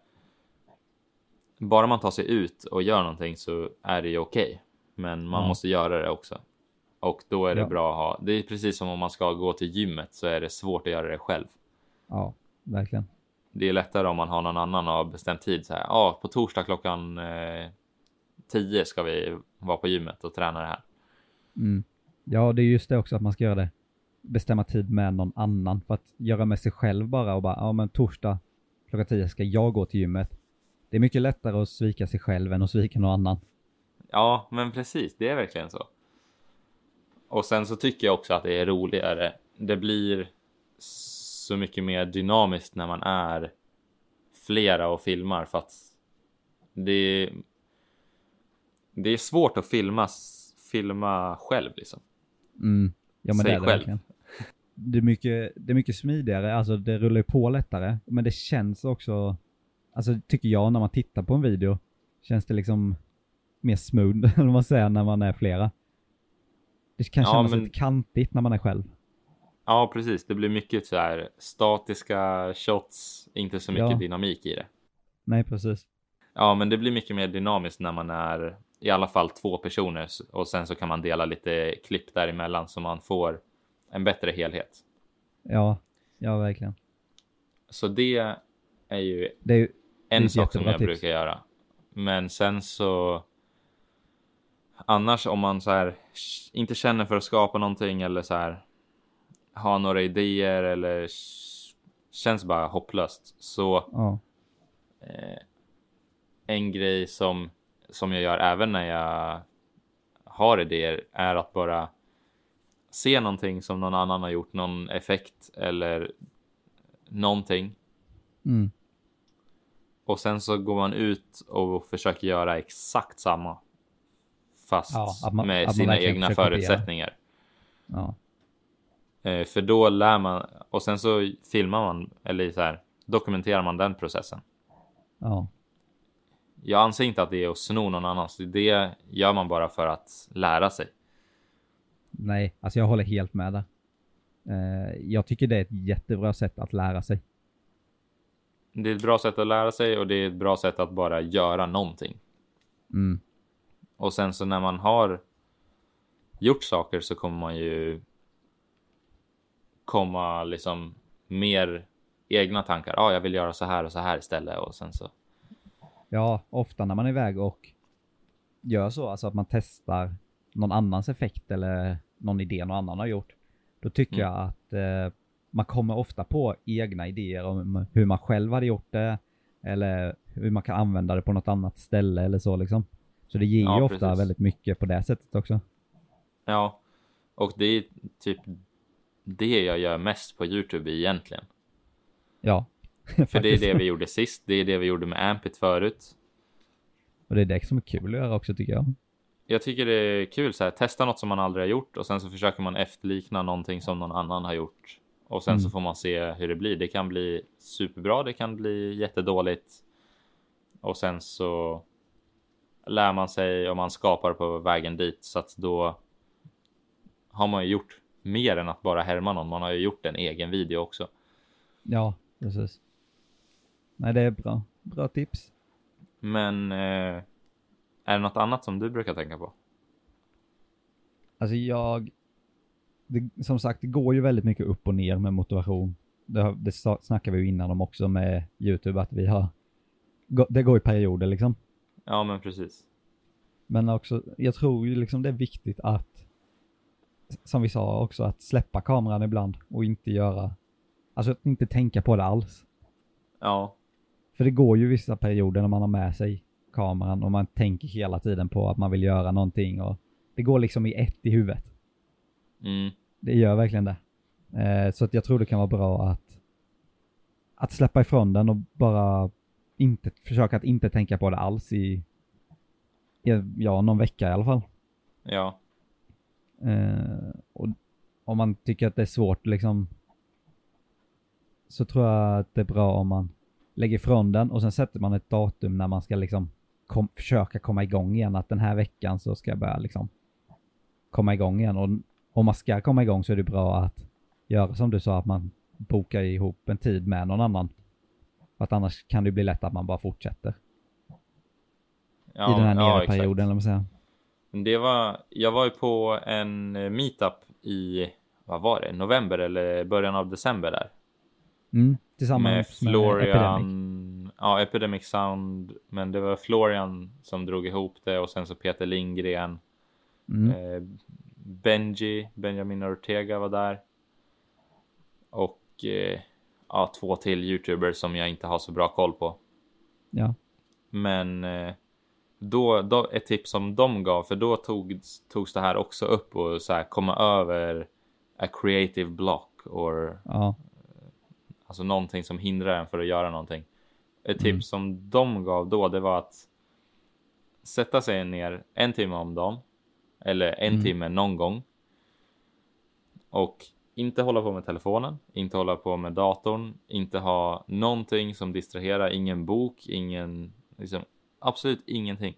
[SPEAKER 1] Bara man tar sig ut och gör någonting så är det ju okej, men man
[SPEAKER 2] Ja.
[SPEAKER 1] måste göra det också och då är det
[SPEAKER 2] Ja.
[SPEAKER 1] bra att ha. Det är precis som om man ska gå till gymmet så är det svårt att göra det själv.
[SPEAKER 2] Ja, verkligen.
[SPEAKER 1] Det är lättare om man har någon annan och har bestämt tid så här. Ja, på torsdag klockan eh, 10 ska vi vara på gymmet och träna det här.
[SPEAKER 2] Mm. Ja, det är just det också att man ska göra det. Bestämma tid med någon annan. För att göra med sig själv bara och bara, ja men torsdag klockan 10 ska jag gå till gymmet. Det är mycket lättare att svika sig själv än att svika någon annan.
[SPEAKER 1] Ja, men precis. Det är verkligen så. Och sen så tycker jag också att det är roligare. Det blir så mycket mer dynamiskt när man är flera och filmar för att det det är svårt att filma, filma själv liksom.
[SPEAKER 2] Mm. Ja, men
[SPEAKER 1] Sig
[SPEAKER 2] det är det
[SPEAKER 1] själv.
[SPEAKER 2] verkligen. Det är, mycket, det är mycket smidigare, alltså det rullar ju på lättare, men det känns också, alltså tycker jag när man tittar på en video, känns det liksom mer smooth, [LAUGHS] om man säger, när man är flera. Det kan
[SPEAKER 1] Ja,
[SPEAKER 2] kännas
[SPEAKER 1] men-
[SPEAKER 2] lite kantigt när man är själv.
[SPEAKER 1] Ja, precis. Det blir mycket så här statiska shots, inte så mycket
[SPEAKER 2] Ja.
[SPEAKER 1] dynamik i det.
[SPEAKER 2] Nej, precis.
[SPEAKER 1] Ja, men det blir mycket mer dynamiskt när man är i alla fall två personer s- och sen så kan man dela lite klipp däremellan så man får en bättre helhet.
[SPEAKER 2] Ja, ja verkligen.
[SPEAKER 1] Så det är ju
[SPEAKER 2] Det är ju, Det är
[SPEAKER 1] en
[SPEAKER 2] ett
[SPEAKER 1] sak som
[SPEAKER 2] jättebra
[SPEAKER 1] jag
[SPEAKER 2] tips.
[SPEAKER 1] brukar göra. Men sen så. Annars om man så här sh- inte känner för att skapa någonting eller så här. Ha några idéer eller sh- känns bara hopplöst så
[SPEAKER 2] ja.
[SPEAKER 1] eh, en grej som, som jag gör även när jag har idéer är att bara se någonting som någon annan har gjort, någon effekt eller någonting.
[SPEAKER 2] Mm.
[SPEAKER 1] Och sen så går man ut och försöker göra exakt samma. Fast
[SPEAKER 2] Ja, att man- att
[SPEAKER 1] med
[SPEAKER 2] man
[SPEAKER 1] sina
[SPEAKER 2] verkligen
[SPEAKER 1] egna
[SPEAKER 2] försöker kopiera.
[SPEAKER 1] förutsättningar.
[SPEAKER 2] Ja.
[SPEAKER 1] Eh, för då lär man och sen så filmar man eller så här dokumenterar man den processen.
[SPEAKER 2] Ja.
[SPEAKER 1] Jag anser inte att det är att sno någon annans. Det gör man bara för att lära sig.
[SPEAKER 2] Nej, alltså jag håller helt med där. Eh, jag tycker det är ett jättebra sätt att lära sig.
[SPEAKER 1] Det är ett bra sätt att lära sig och det är ett bra sätt att bara göra någonting.
[SPEAKER 2] Mm.
[SPEAKER 1] Och sen så när man har gjort saker så kommer man ju komma liksom mer egna tankar. Ja, ah, jag vill göra så här och så här istället och sen så.
[SPEAKER 2] Ja, ofta när man är iväg och gör så, alltså att man testar någon annans effekt eller någon idé någon annan har gjort, då tycker
[SPEAKER 1] Mm.
[SPEAKER 2] jag att eh, man kommer ofta på egna idéer om hur man själv hade gjort det eller hur man kan använda det på något annat ställe eller så liksom. Så det ger
[SPEAKER 1] Ja,
[SPEAKER 2] ju ofta
[SPEAKER 1] precis.
[SPEAKER 2] väldigt mycket på det sättet också.
[SPEAKER 1] Ja, och det är typ det jag gör mest på Youtube egentligen.
[SPEAKER 2] Ja.
[SPEAKER 1] För det är det vi gjorde sist. Det är det vi gjorde med Ampit förut.
[SPEAKER 2] Och det är det som är kul att göra också tycker jag.
[SPEAKER 1] jag tycker det är kul så här, testa något som man aldrig har gjort och sen så försöker man efterlikna någonting som någon annan har gjort. Och sen så
[SPEAKER 2] Mm.
[SPEAKER 1] får man se hur det blir. Det kan bli superbra, det kan bli jättedåligt. Och sen så lär man sig och man skapar på vägen dit så att då har man ju gjort mer än att bara härma någon. Man har ju gjort en egen video också.
[SPEAKER 2] Ja, precis. Nej, det är bra. Bra tips.
[SPEAKER 1] Men eh, är det något annat som du brukar tänka på?
[SPEAKER 2] Alltså jag, det, som sagt, det går ju väldigt mycket upp och ner med motivation det, har, det sa- snackade vi ju innan om också med YouTube, att vi har, gå- det går i perioder liksom.
[SPEAKER 1] Ja, men precis.
[SPEAKER 2] Men också, jag tror ju liksom det är viktigt att, som vi sa också, att släppa kameran ibland och inte göra, alltså att inte tänka på det alls.
[SPEAKER 1] Ja,
[SPEAKER 2] För det går ju vissa perioder när man har med sig kameran och man tänker hela tiden på att man vill göra någonting och det går liksom i ett i huvudet.
[SPEAKER 1] mm,
[SPEAKER 2] Det gör verkligen det. Eh, så att jag tror det kan vara bra att, att släppa ifrån den och bara inte, försöka att inte tänka på det alls i, i ja, någon vecka i alla fall.
[SPEAKER 1] ja,
[SPEAKER 2] Eh, och om man tycker att det är svårt liksom så tror jag att det är bra om man lägger ifrån den och sen sätter man ett datum när man ska liksom kom, försöka komma igång igen. Att den här veckan så ska jag börja liksom komma igång igen. Och om man ska komma igång så är det bra att göra som du sa, att man bokar ihop en tid med någon annan. För att annars kan det bli lätt att man bara fortsätter
[SPEAKER 1] ja.
[SPEAKER 2] i den här
[SPEAKER 1] ja,
[SPEAKER 2] nere perioden. Eller vad man säger.
[SPEAKER 1] Men Det var, jag var ju på en eh, meetup i, vad var det, november eller början av december där.
[SPEAKER 2] Mm, tillsammans
[SPEAKER 1] med
[SPEAKER 2] Epidemic.
[SPEAKER 1] Florian, ja Epidemic Sound, men det var Florian som drog ihop det och sen så Peter Lindgren,
[SPEAKER 2] Mm.
[SPEAKER 1] eh, Benji, Benjamin Ortega var där. Och eh, ja, två till YouTubers som jag inte har så bra koll på.
[SPEAKER 2] Ja.
[SPEAKER 1] Men eh, då, då, ett tips som de gav, för då togs, togs det här också upp och så här komma över a creative block or
[SPEAKER 2] ja.
[SPEAKER 1] alltså någonting som hindrar en för att göra någonting. Ett
[SPEAKER 2] Mm.
[SPEAKER 1] tips som de gav då, det var att sätta sig ner en timme om dagen eller en
[SPEAKER 2] Mm.
[SPEAKER 1] timme någon gång. Och inte hålla på med telefonen, inte hålla på med datorn, inte ha någonting som distraherar, ingen bok, ingen, liksom, absolut ingenting.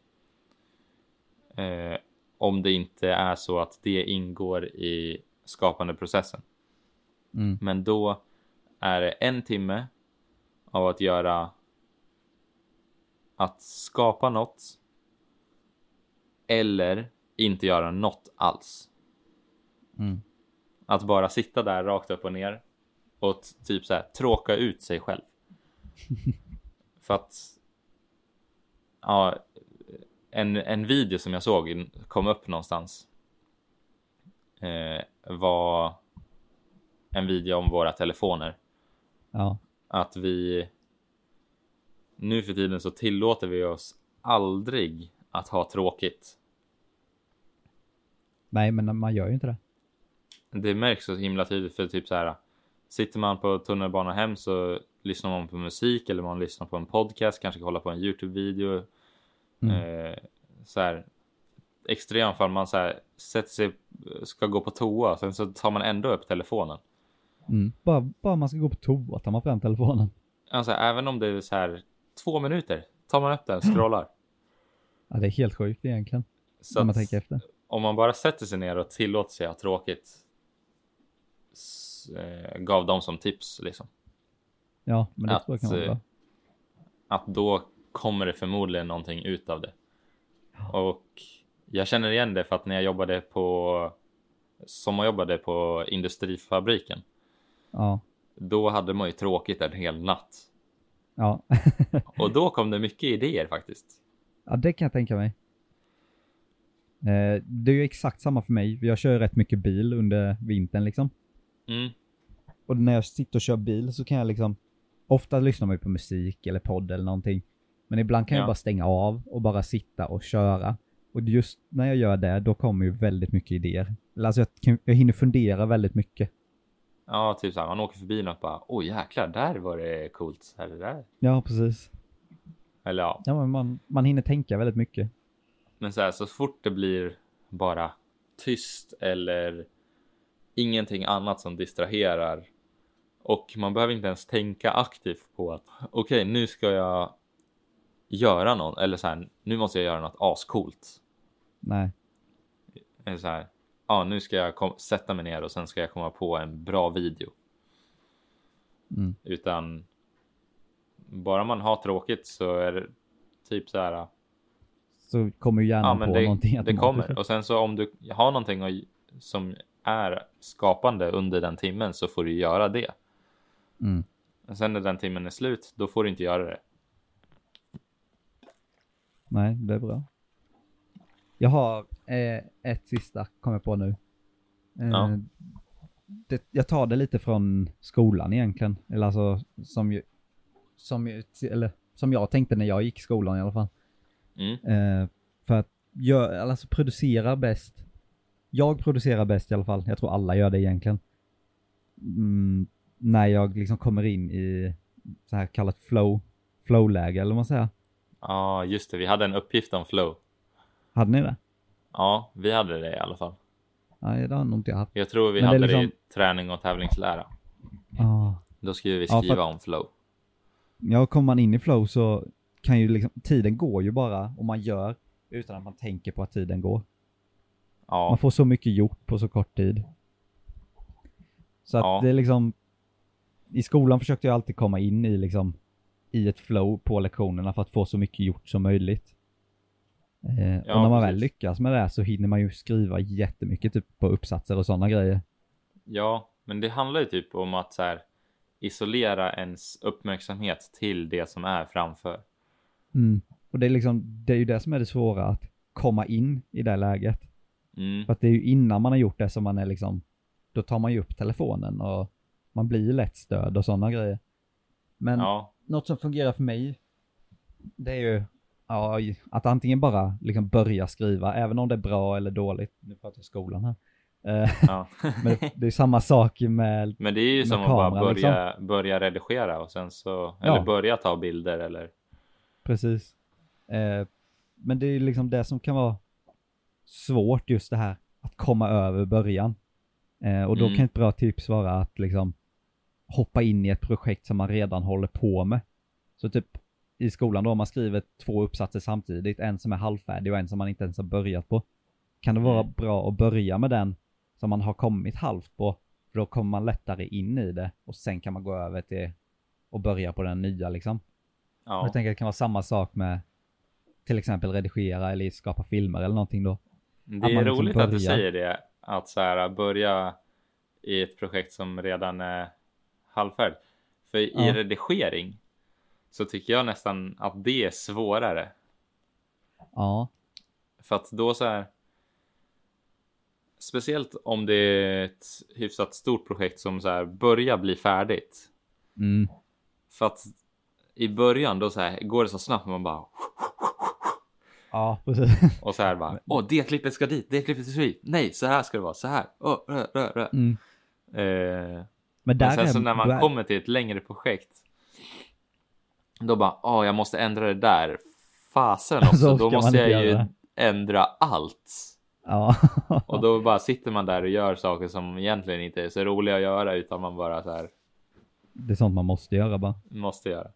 [SPEAKER 1] Eh, om det inte är så att det ingår i skapandeprocessen.
[SPEAKER 2] Mm.
[SPEAKER 1] Men då är det en timme av att göra att skapa något eller inte göra något alls.
[SPEAKER 2] Mm.
[SPEAKER 1] Att bara sitta där rakt upp och ner och t- typ så här tråka ut sig
[SPEAKER 2] [LAUGHS]
[SPEAKER 1] själv. För att ja, en, en video som jag såg in- kom upp någonstans eh, var en video om våra telefoner.
[SPEAKER 2] Ja.
[SPEAKER 1] att vi nu för tiden så tillåter vi oss aldrig att ha tråkigt.
[SPEAKER 2] Nej, men man gör ju inte det.
[SPEAKER 1] Det märks så himla tydligt för typ så här sitter man på tunnelbanan hem så lyssnar man på musik eller man lyssnar på en podcast, kanske kollar på en Youtube-video.
[SPEAKER 2] Mm.
[SPEAKER 1] Eh, så här extremfall man så här sätter sig, ska gå på toa, sen så tar man ändå upp telefonen.
[SPEAKER 2] Mm. Bara, bara man ska gå på toa tar man fram telefonen.
[SPEAKER 1] Alltså även om det är så här två minuter tar man upp
[SPEAKER 2] [LAUGHS]
[SPEAKER 1] den, scrollar.
[SPEAKER 2] Ja, det är helt sjukt egentligen,
[SPEAKER 1] Så
[SPEAKER 2] om man
[SPEAKER 1] att-
[SPEAKER 2] tänker efter.
[SPEAKER 1] om man bara sätter sig ner och tillåter sig att ha tråkigt s- eh, gav dem som tips liksom.
[SPEAKER 2] Ja, men det
[SPEAKER 1] att,
[SPEAKER 2] tror jag kan vara
[SPEAKER 1] eh,
[SPEAKER 2] bra.
[SPEAKER 1] Att då kommer det förmodligen någonting ut av det. Och jag känner igen det för att när jag jobbade på sommarjobbade på industrifabriken,
[SPEAKER 2] Ja.
[SPEAKER 1] då hade man ju tråkigt en hel natt.
[SPEAKER 2] Ja.
[SPEAKER 1] Och då kom det mycket idéer faktiskt.
[SPEAKER 2] ja, det kan jag tänka mig. Eh, det är ju exakt samma för mig. Jag kör ju rätt mycket bil under vintern liksom.
[SPEAKER 1] Mm,
[SPEAKER 2] Och när jag sitter och kör bil så kan jag liksom, ofta lyssnar man ju på musik eller podd eller någonting. Men ibland kan
[SPEAKER 1] Ja.
[SPEAKER 2] jag bara stänga av och bara sitta och köra. Och just när jag gör det, då kommer ju väldigt mycket idéer. Eller Alltså jag, kan- jag hinner fundera väldigt mycket.
[SPEAKER 1] ja, typ så här, man åker förbi något och bara, oj jäklar, där var det coolt. Eller, där.
[SPEAKER 2] Ja, precis.
[SPEAKER 1] eller ja,
[SPEAKER 2] Ja, men man, man hinner tänka väldigt mycket.
[SPEAKER 1] Men så här, så fort det blir bara tyst eller ingenting annat som distraherar och man behöver inte ens tänka aktivt på att okej, nu ska jag göra något eller så här, nu måste jag göra något ascoolt.
[SPEAKER 2] Nej.
[SPEAKER 1] Eller så här, ja, nu ska jag kom- sätta mig ner och sen ska jag komma på en bra video.
[SPEAKER 2] Mm.
[SPEAKER 1] Utan bara man har tråkigt så är det typ så här
[SPEAKER 2] Så kommer ju hjärnan
[SPEAKER 1] Ja, men
[SPEAKER 2] på någonting
[SPEAKER 1] det, det
[SPEAKER 2] automatiskt.
[SPEAKER 1] kommer. Och sen så om du har någonting att- som är skapande under den timmen så får du göra det.
[SPEAKER 2] Mm.
[SPEAKER 1] Och sen när den timmen är slut, då får du inte göra det.
[SPEAKER 2] Nej, det är bra. Jag har eh, ett sista, kom jag på nu. Eh,
[SPEAKER 1] Ja.
[SPEAKER 2] det, jag tar det lite från skolan egentligen. Eller alltså, som, ju, som, ju, eller, som jag tänkte när jag gick i skolan i alla fall.
[SPEAKER 1] Mm.
[SPEAKER 2] Eh, för att gör, alltså producera bäst. Jag producerar bäst i alla fall. Jag tror alla gör det egentligen. Mm, när jag liksom kommer in i så här kallat flow, flow-läge eller vad man säger.
[SPEAKER 1] Ja, just det. Vi hade en uppgift om flow.
[SPEAKER 2] Hade ni det?
[SPEAKER 1] Ja, vi hade det i alla fall.
[SPEAKER 2] Nej, det har nog inte jag haft.
[SPEAKER 1] Jag tror vi
[SPEAKER 2] Men det är liksom-
[SPEAKER 1] hade det i träning och tävlingslära.
[SPEAKER 2] Ah.
[SPEAKER 1] Då skulle vi
[SPEAKER 2] Ja, för
[SPEAKER 1] skriva om flow.
[SPEAKER 2] Ja, kommer man in i flow så kan ju liksom, tiden går ju bara och man gör utan att man tänker på att tiden går.
[SPEAKER 1] Ja,
[SPEAKER 2] Man får så mycket gjort på så kort tid. Så att
[SPEAKER 1] Ja.
[SPEAKER 2] det är liksom... I skolan försökte jag alltid komma in i liksom i ett flow på lektionerna för att få så mycket gjort som möjligt. Eh, och
[SPEAKER 1] Ja,
[SPEAKER 2] när man väl
[SPEAKER 1] precis.
[SPEAKER 2] lyckas med det här så hinner man ju skriva jättemycket typ på uppsatser och sådana grejer.
[SPEAKER 1] ja, men det handlar ju typ om att så här, isolera ens uppmärksamhet till det som är framför.
[SPEAKER 2] Mm. Och det är liksom, det är ju det som är det svåra att komma in i det läget.
[SPEAKER 1] Mm.
[SPEAKER 2] För att det är ju innan man har gjort det som man är liksom, då tar man ju upp telefonen och man blir ju lätt störd och sådana grejer. Men
[SPEAKER 1] Ja,
[SPEAKER 2] något som fungerar för mig, det är ju ja, att antingen bara liksom börja skriva, även om det är bra eller dåligt. Nu pratar jag skolan här. Eh, [LAUGHS]
[SPEAKER 1] ja. [LAUGHS]
[SPEAKER 2] Men det är samma sak med,
[SPEAKER 1] Men det är ju
[SPEAKER 2] Med
[SPEAKER 1] som att bara
[SPEAKER 2] kamera, liksom.
[SPEAKER 1] börja, börja redigera och sen så,
[SPEAKER 2] Ja.
[SPEAKER 1] eller börja ta bilder eller,
[SPEAKER 2] precis. Eh, Men det är ju liksom det som kan vara svårt, just det här att komma över början. Eh, Och då
[SPEAKER 1] Mm.
[SPEAKER 2] kan ett bra tips vara att liksom hoppa in i ett projekt som man redan håller på med. Så typ i skolan då, om man skriver två uppsatser samtidigt, en som är halvfärdig och en som man inte ens har börjat på. Kan det vara
[SPEAKER 1] Mm.
[SPEAKER 2] bra att börja med den som man har kommit halvt på? För då kommer man lättare in i det och sen kan man gå över till och börja på den nya liksom. Och
[SPEAKER 1] ja.
[SPEAKER 2] Jag tänker att det kan vara samma sak med till exempel redigera eller skapa filmer eller någonting då.
[SPEAKER 1] Det
[SPEAKER 2] man
[SPEAKER 1] är
[SPEAKER 2] liksom
[SPEAKER 1] roligt att du
[SPEAKER 2] börjar.
[SPEAKER 1] säger det, att så här, börja i ett projekt som redan är halvfärdigt. För i
[SPEAKER 2] Ja.
[SPEAKER 1] redigering så tycker jag nästan att det är svårare.
[SPEAKER 2] Ja,
[SPEAKER 1] För att då så här, speciellt om det är ett hyfsat stort projekt som så här börjar bli färdigt.
[SPEAKER 2] mm,
[SPEAKER 1] För att i början då så här, går det så snabbt man bara [LAUGHS]
[SPEAKER 2] ja precis. Mm.
[SPEAKER 1] och så här bara åh det klippet ska dit, det klippet ska dit, nej så här ska det vara, så här. Åh, rö, rö, rö.
[SPEAKER 2] Mm.
[SPEAKER 1] Eh,
[SPEAKER 2] Men där
[SPEAKER 1] men sen
[SPEAKER 2] är,
[SPEAKER 1] så när man
[SPEAKER 2] där-
[SPEAKER 1] kommer till ett längre projekt då bara åh jag måste ändra det där, fasen också,
[SPEAKER 2] [LAUGHS] Så
[SPEAKER 1] då
[SPEAKER 2] ska
[SPEAKER 1] måste
[SPEAKER 2] man inte
[SPEAKER 1] jag ju
[SPEAKER 2] göra.
[SPEAKER 1] ändra allt.
[SPEAKER 2] Ja.
[SPEAKER 1] [LAUGHS] Och då bara sitter man där och gör saker som egentligen inte är så roliga att göra utan man bara så här
[SPEAKER 2] Det är sånt man måste göra bara.
[SPEAKER 1] måste göra.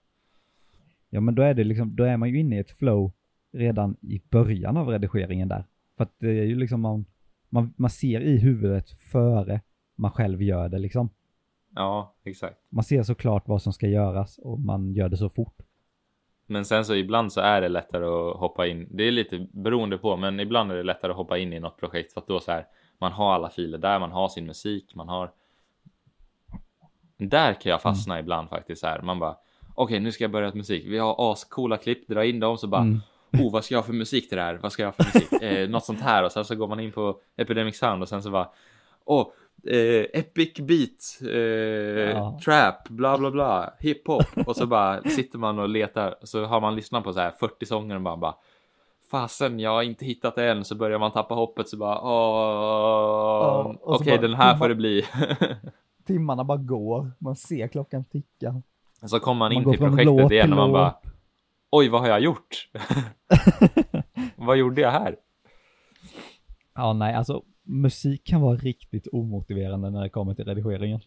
[SPEAKER 2] Ja men då är det liksom, då är man ju inne i ett flow redan i början av redigeringen där. För att det är ju liksom man, man, man ser i huvudet före man själv gör det liksom.
[SPEAKER 1] Ja, exakt.
[SPEAKER 2] Man ser såklart vad som ska göras och man gör det så fort.
[SPEAKER 1] Men sen så ibland så är det lättare att hoppa in. Det är lite beroende på, men ibland är det lättare att hoppa in i något projekt för att då så här man har alla filer där, man har sin musik, man har. Där kan jag fastna ibland faktiskt så här. Man bara okej, nu ska jag börja med musik. Vi har ascoola klipp, dra in dem så bara
[SPEAKER 2] Mm.
[SPEAKER 1] oh, vad ska jag ha för musik till det här? Vad ska jag ha för musik? Eh, något sånt här och sen så går man in på Epidemic Sound och sen så bara åh, eh, epic beat, eh,
[SPEAKER 2] Ja.
[SPEAKER 1] trap, bla bla bla, hiphop och så bara sitter man och letar och så har man lyssnat på så här 40 sånger och bara, bara fasen jag har inte hittat det än så börjar man tappa hoppet så bara åh,
[SPEAKER 2] Ja, och så
[SPEAKER 1] okej
[SPEAKER 2] bara-
[SPEAKER 1] den här får det bli.
[SPEAKER 2] Timmarna bara går, man ser klockan ticka.
[SPEAKER 1] så kommer man in
[SPEAKER 2] går
[SPEAKER 1] till
[SPEAKER 2] från
[SPEAKER 1] projektet
[SPEAKER 2] låt
[SPEAKER 1] igen
[SPEAKER 2] till
[SPEAKER 1] och man
[SPEAKER 2] låt.
[SPEAKER 1] bara oj vad har jag
[SPEAKER 2] [LAUGHS]
[SPEAKER 1] gjort? vad gjorde jag här?
[SPEAKER 2] Ja nej alltså musik kan vara riktigt omotiverande när det kommer till redigeringen.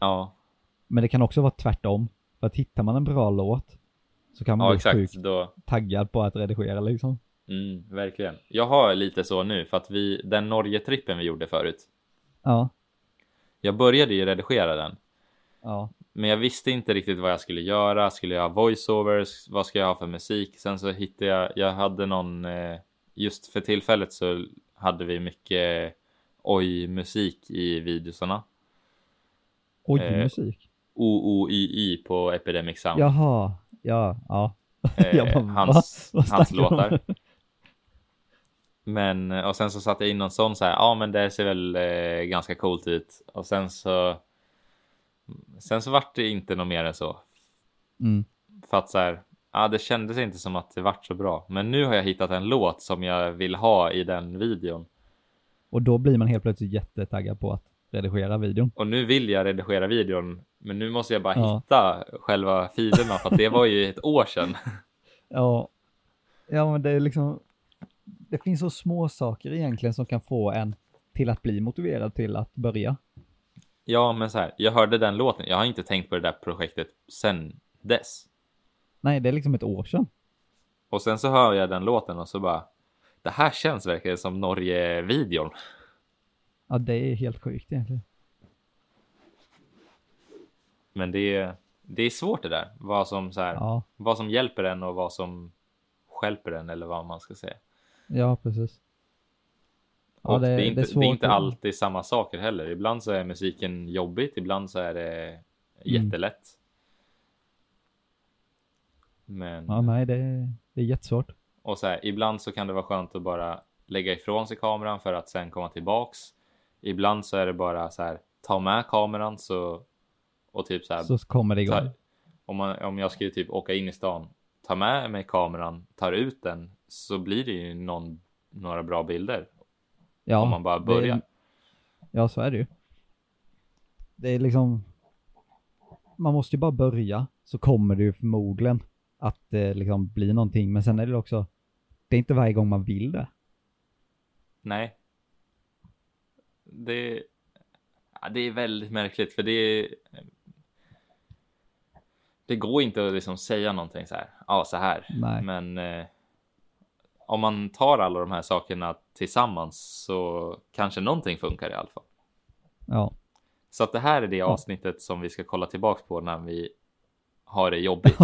[SPEAKER 1] Ja.
[SPEAKER 2] Men det kan också vara tvärtom. För att hittar man en bra låt så kan man
[SPEAKER 1] Ja
[SPEAKER 2] bli
[SPEAKER 1] exakt,
[SPEAKER 2] sjukt
[SPEAKER 1] då,
[SPEAKER 2] taggad på att redigera liksom.
[SPEAKER 1] mm, verkligen. Jag har lite så nu för att vi, den Norge-trippen vi gjorde förut,
[SPEAKER 2] Ja,
[SPEAKER 1] jag började ju redigera den,
[SPEAKER 2] ja,
[SPEAKER 1] men jag visste inte riktigt vad jag skulle göra, skulle jag ha voiceovers, vad ska jag ha för musik? Sen så hittade jag, jag hade någon, eh, just för tillfället så hade vi mycket oj-musik i videosarna.
[SPEAKER 2] oj
[SPEAKER 1] Eh,
[SPEAKER 2] musik.
[SPEAKER 1] OOII på Epidemic Sound.
[SPEAKER 2] Jaha, ja, ja.
[SPEAKER 1] eh,
[SPEAKER 2] jag bara,
[SPEAKER 1] hans,
[SPEAKER 2] va? Vad
[SPEAKER 1] hans
[SPEAKER 2] snackar de om?
[SPEAKER 1] låtar. Men eh, och sen så satte jag in någon sån så här. Ja, men det ser väl eh, ganska coolt ut och sen så. Sen så vart det inte något mer än så
[SPEAKER 2] Mm.
[SPEAKER 1] för att så här. Ja, det kändes inte som att det vart så bra, men nu har jag hittat en låt som jag vill ha i den videon
[SPEAKER 2] Och då blir man helt plötsligt jättetaggad på att redigera videon.
[SPEAKER 1] och nu vill jag redigera videon. Men nu måste jag bara
[SPEAKER 2] Ja.
[SPEAKER 1] hitta själva filerna för att det var ju ett år sedan. [LAUGHS]
[SPEAKER 2] Ja, ja men det är liksom, det finns så små saker egentligen som kan få en till att bli motiverad till att börja.
[SPEAKER 1] Ja, men så här, jag hörde den låten. Jag har inte tänkt på det där projektet sen dess.
[SPEAKER 2] Nej, det är liksom ett år sedan.
[SPEAKER 1] Och sen så hör jag den låten och så bara. Det här känns verkligen som Norge-videon.
[SPEAKER 2] Ja, det är helt sjukt egentligen.
[SPEAKER 1] Men det är, det är svårt det där. Vad som, så här,
[SPEAKER 2] Ja,
[SPEAKER 1] vad som hjälper en och vad som stjälper en eller vad man ska säga.
[SPEAKER 2] ja precis. Ja,
[SPEAKER 1] och det,
[SPEAKER 2] det-
[SPEAKER 1] är
[SPEAKER 2] det är
[SPEAKER 1] inte, det är,
[SPEAKER 2] svårt
[SPEAKER 1] inte
[SPEAKER 2] att-
[SPEAKER 1] alltid samma saker heller. Ibland så är musiken jobbigt, ibland så är
[SPEAKER 2] Mm.
[SPEAKER 1] det jättelätt. Men
[SPEAKER 2] Ja, nej, det, det är jättesvårt.
[SPEAKER 1] och så här, ibland så kan det vara skönt att bara lägga ifrån sig kameran för att sen komma tillbaks. Ibland så är det bara så här ta med kameran så och typ så här
[SPEAKER 2] Så kommer det igång.
[SPEAKER 1] ta, om, man, om jag skulle typ åka in i stan, ta med mig kameran, tar ut den så blir det ju någon, några bra bilder
[SPEAKER 2] Ja,
[SPEAKER 1] om man bara
[SPEAKER 2] det-
[SPEAKER 1] börjar.
[SPEAKER 2] Ja, så är det ju. Det är liksom... Man måste ju bara börja, så kommer det ju förmodligen att eh, liksom bli någonting. Men sen är det också... Det är inte varje gång man vill det.
[SPEAKER 1] Nej. Det, ja, det är väldigt märkligt för det det går inte att liksom säga någonting så här. Ja, så här.
[SPEAKER 2] Nej.
[SPEAKER 1] Men eh, om man tar alla de här sakerna tillsammans så kanske någonting funkar i alla fall.
[SPEAKER 2] Ja,
[SPEAKER 1] Så att det här är det avsnittet som vi ska kolla tillbaks på när vi har det jobbigt.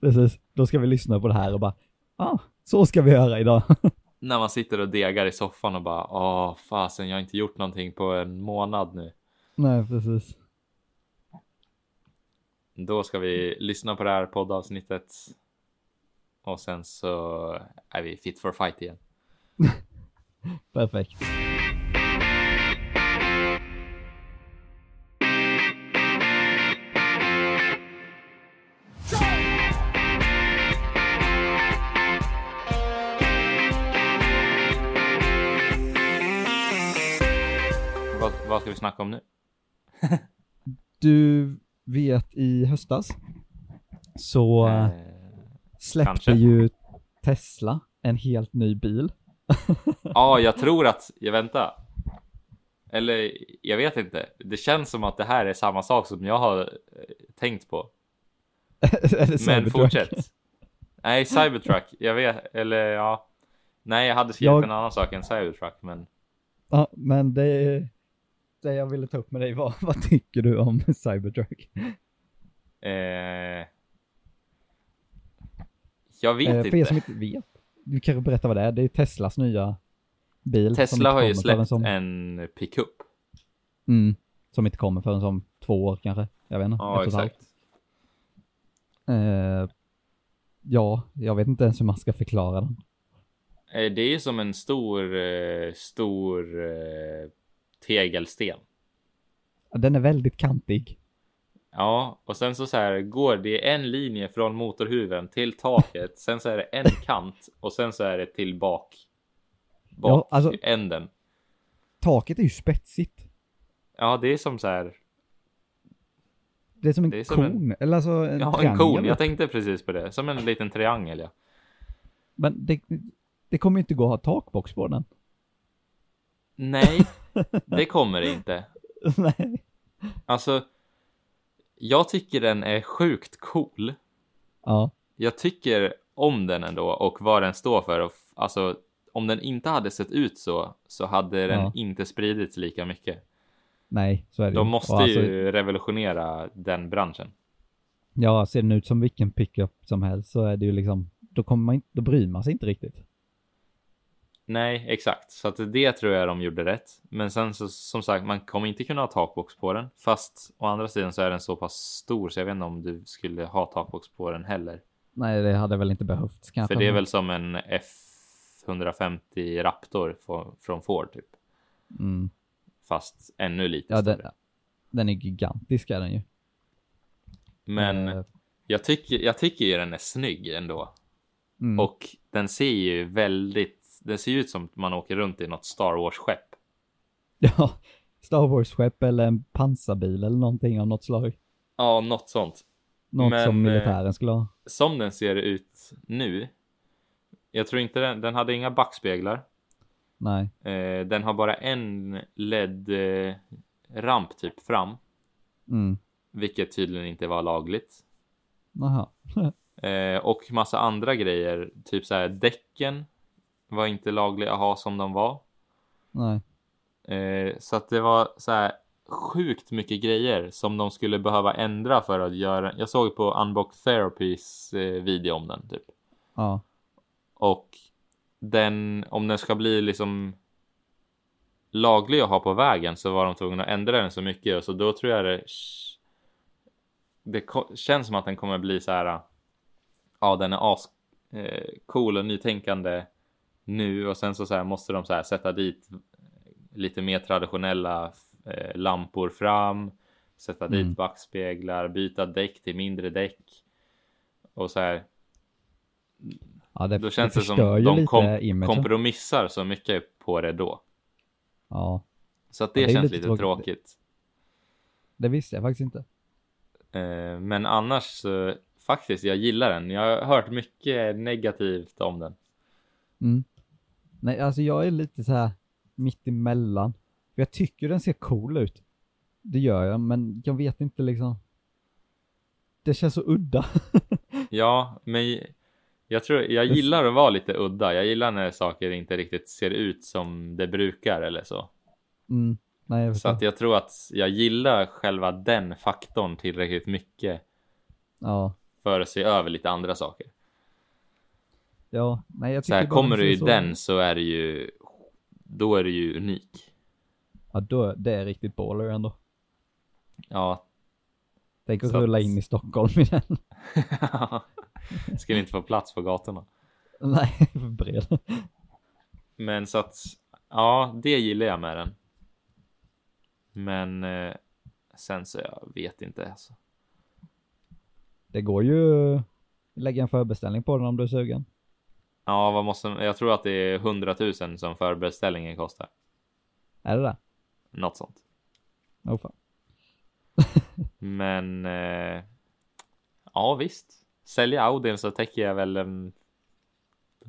[SPEAKER 2] precis. Då ska vi lyssna på det här och bara... Ah, så ska vi göra idag. [LAUGHS]
[SPEAKER 1] när man sitter och degar i soffan och bara åh fasen, jag har inte gjort någonting på en månad nu.
[SPEAKER 2] Nej, precis.
[SPEAKER 1] Då ska vi lyssna på det här poddavsnittet. Och sen så är vi fit for fight igen.
[SPEAKER 2] Perfekt.
[SPEAKER 1] Vad, vad ska vi snacka om nu?
[SPEAKER 2] Du vet, i höstas så
[SPEAKER 1] Eh,
[SPEAKER 2] släppte
[SPEAKER 1] kanske.
[SPEAKER 2] ju Tesla en helt ny bil. [LAUGHS]
[SPEAKER 1] Ja, jag tror att, jag vänta. Eller jag vet inte. Det känns som att det här är samma sak som jag har eh, tänkt på.
[SPEAKER 2] Eller
[SPEAKER 1] Men
[SPEAKER 2] Cybertruck.
[SPEAKER 1] fortsätt. Nej, Cybertruck. Jag vet, eller ja. Nej, jag hade skrivit
[SPEAKER 2] Jag-
[SPEAKER 1] en annan sak än Cybertruck, men
[SPEAKER 2] Ja, men det, det jag ville ta upp med dig var, [LAUGHS] vad tycker du om Cybertruck?
[SPEAKER 1] eh, jag vet
[SPEAKER 2] Eh, för er
[SPEAKER 1] inte.
[SPEAKER 2] som inte vet, du kan ju berätta vad det är. Det är Teslas nya bil. som inte
[SPEAKER 1] Tesla har ju
[SPEAKER 2] kommer förrän
[SPEAKER 1] släppt
[SPEAKER 2] som,
[SPEAKER 1] en pickup.
[SPEAKER 2] Mm, som inte kommer förrän som två år kanske. Jag vet inte,
[SPEAKER 1] Ja,
[SPEAKER 2] ett och ett halvt.
[SPEAKER 1] exakt.
[SPEAKER 2] Eh, ja, jag vet inte ens hur man ska förklara den.
[SPEAKER 1] Eh, Det är som en stor, eh, stor eh, tegelsten.
[SPEAKER 2] Den är väldigt kantig.
[SPEAKER 1] Ja, och sen så, så här går det en linje från motorhuven till taket. sen så är det en kant och sen så är det till bak. Bak
[SPEAKER 2] Ja, alltså-
[SPEAKER 1] änden.
[SPEAKER 2] Taket är ju spetsigt.
[SPEAKER 1] Ja, det är som så här.
[SPEAKER 2] Det är som en
[SPEAKER 1] Det är som
[SPEAKER 2] kon, eller alltså en
[SPEAKER 1] Ja, en
[SPEAKER 2] triangel.
[SPEAKER 1] kon. Jag tänkte precis på det. Som en liten triangel. Ja.
[SPEAKER 2] Men det, det kommer ju inte gå att ha takbox
[SPEAKER 1] [LAUGHS]
[SPEAKER 2] på den.
[SPEAKER 1] Nej, det kommer det inte.
[SPEAKER 2] Nej.
[SPEAKER 1] Alltså, jag tycker den är sjukt cool.
[SPEAKER 2] Ja,
[SPEAKER 1] Jag tycker om den ändå och vad den står för. Och f- alltså, om den inte hade sett ut så, så hade den
[SPEAKER 2] Ja.
[SPEAKER 1] inte spridits lika mycket.
[SPEAKER 2] nej, så är det
[SPEAKER 1] De
[SPEAKER 2] ju.
[SPEAKER 1] måste
[SPEAKER 2] Och alltså-
[SPEAKER 1] ju revolutionera den branschen.
[SPEAKER 2] Ja, ser den ut som vilken pickup som helst så är det ju liksom, då kommer man inte, då bryr man sig inte riktigt.
[SPEAKER 1] Nej, exakt. Så att det tror jag de gjorde rätt. Men sen så, som sagt, man kommer inte kunna ha takbox på den. Fast å andra sidan så är den så pass stor så jag vet inte om du skulle ha takbox på den heller.
[SPEAKER 2] Nej, det hade väl inte behövts kanske.
[SPEAKER 1] För det är väl som en F150 Raptor få- från Ford typ.
[SPEAKER 2] Mm.
[SPEAKER 1] Fast ännu lite
[SPEAKER 2] Ja, den,
[SPEAKER 1] större.
[SPEAKER 2] den är gigantisk är den ju.
[SPEAKER 1] Men
[SPEAKER 2] Eh,
[SPEAKER 1] jag tycker, jag tycker ju den är snygg ändå.
[SPEAKER 2] mm.
[SPEAKER 1] Och den ser ju väldigt, den ser ju ut som att man åker runt i något Star Wars-skepp.
[SPEAKER 2] [LAUGHS] Ja, Star Wars-skepp eller en pansarbil eller någonting av något slag.
[SPEAKER 1] Ja, något sånt.
[SPEAKER 2] Något
[SPEAKER 1] Men,
[SPEAKER 2] som
[SPEAKER 1] eh,
[SPEAKER 2] militären skulle ha.
[SPEAKER 1] Som den ser ut nu. Jag tror inte den, den hade inga backspeglar.
[SPEAKER 2] Nej.
[SPEAKER 1] Eh, den har bara en LED-ramp typ fram,
[SPEAKER 2] Mm.
[SPEAKER 1] vilket tydligen inte var lagligt.
[SPEAKER 2] Aha.
[SPEAKER 1] Eh, och massa andra grejer, typ så här däcken var inte lagliga att ha som de var.
[SPEAKER 2] Nej.
[SPEAKER 1] Eh, så att det var så här sjukt mycket grejer som de skulle behöva ändra för att göra. Jag såg på Unbox Therapies eh, video om den typ.
[SPEAKER 2] Ja.
[SPEAKER 1] Och den, om den ska bli liksom laglig att ha på vägen så var de tvungna att ändra den så mycket och så då tror jag det det ko- känns som att den kommer bli så här äh, ja den är as eh, cool och nytänkande nu och sen så, så här måste de så här sätta dit lite mer traditionella eh, lampor fram sätta
[SPEAKER 2] Mm.
[SPEAKER 1] dit backspeglar byta däck till mindre däck och så här
[SPEAKER 2] ja det,
[SPEAKER 1] då känns det som
[SPEAKER 2] förstör ju
[SPEAKER 1] de
[SPEAKER 2] lite
[SPEAKER 1] kom-
[SPEAKER 2] imagen.
[SPEAKER 1] kompromissar så mycket på det då.
[SPEAKER 2] Ja.
[SPEAKER 1] Så att det,
[SPEAKER 2] Ja, det är
[SPEAKER 1] känns
[SPEAKER 2] lite
[SPEAKER 1] lite
[SPEAKER 2] tråkigt.
[SPEAKER 1] tråkigt.
[SPEAKER 2] Det visste jag faktiskt inte.
[SPEAKER 1] Eh, Men annars så faktiskt, jag gillar den. Jag har hört mycket negativt om den.
[SPEAKER 2] Mm. Nej, alltså jag är lite så här mitt emellan. För Jag tycker den ser cool ut. Det gör jag, men jag vet inte liksom. Det känns så udda. [LAUGHS]
[SPEAKER 1] Ja, men jag tror jag
[SPEAKER 2] Det-
[SPEAKER 1] gillar att vara lite udda. Jag gillar när saker inte riktigt ser ut som det brukar eller så.
[SPEAKER 2] Mm. Nej,
[SPEAKER 1] Så
[SPEAKER 2] jag förstår.
[SPEAKER 1] att jag tror att jag gillar själva den faktorn tillräckligt mycket
[SPEAKER 2] Ja.
[SPEAKER 1] för att se över lite andra saker.
[SPEAKER 2] Ja. Nej, jag
[SPEAKER 1] Så
[SPEAKER 2] tycker
[SPEAKER 1] här,
[SPEAKER 2] bara
[SPEAKER 1] kommer
[SPEAKER 2] ser
[SPEAKER 1] du i
[SPEAKER 2] så-
[SPEAKER 1] den så är det ju, då är det ju unik.
[SPEAKER 2] Ja, då, det är riktigt baller ändå.
[SPEAKER 1] Ja.
[SPEAKER 2] Tänk att
[SPEAKER 1] Så att-
[SPEAKER 2] rulla in i Stockholm i den.
[SPEAKER 1] Skulle inte få plats på gatorna.
[SPEAKER 2] [LAUGHS] Nej, för bred.
[SPEAKER 1] Men så att, ja, det gillar jag med den. Men eh, sen så jag vet inte. Alltså.
[SPEAKER 2] Det går ju att lägga en förbeställning på den om du är sugen.
[SPEAKER 1] Ja, vad måste, jag tror att det är 100 000 som förbeställningen kostar.
[SPEAKER 2] Är det det?
[SPEAKER 1] Något sånt.
[SPEAKER 2] Åh fan.
[SPEAKER 1] Men eh, ja, visst. Sälja Audin så täcker jag väl en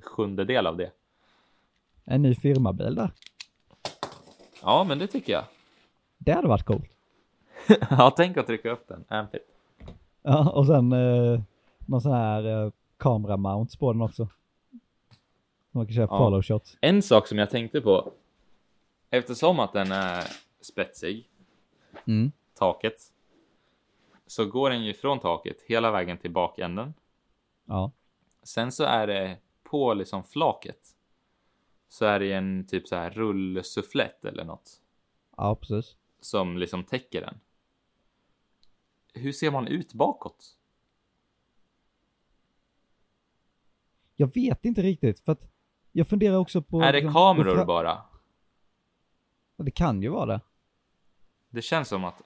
[SPEAKER 1] sjundedel av det.
[SPEAKER 2] En ny firmabil där.
[SPEAKER 1] Ja, men det tycker jag.
[SPEAKER 2] Det hade varit coolt.
[SPEAKER 1] ja, tänk att trycka upp den. Ampit.
[SPEAKER 2] Ja, och sen eh, någon sån här eh, kameramounts på den också. Så man kan köra
[SPEAKER 1] Ja.
[SPEAKER 2] follow shots.
[SPEAKER 1] En sak som jag tänkte på. Eftersom att den är spetsig,
[SPEAKER 2] Mm.
[SPEAKER 1] taket, så går den ju från taket hela vägen till bakänden.
[SPEAKER 2] Ja.
[SPEAKER 1] Sen så är det på liksom flaket. Så är det en typ så här rullsufflett eller något
[SPEAKER 2] ja, precis.
[SPEAKER 1] som liksom täcker den. Hur ser man ut bakåt?
[SPEAKER 2] Jag vet inte riktigt för att jag funderar också på...
[SPEAKER 1] är det
[SPEAKER 2] liksom-
[SPEAKER 1] kameror
[SPEAKER 2] Fra-
[SPEAKER 1] bara?
[SPEAKER 2] Ja, Det kan ju vara det.
[SPEAKER 1] Det känns som att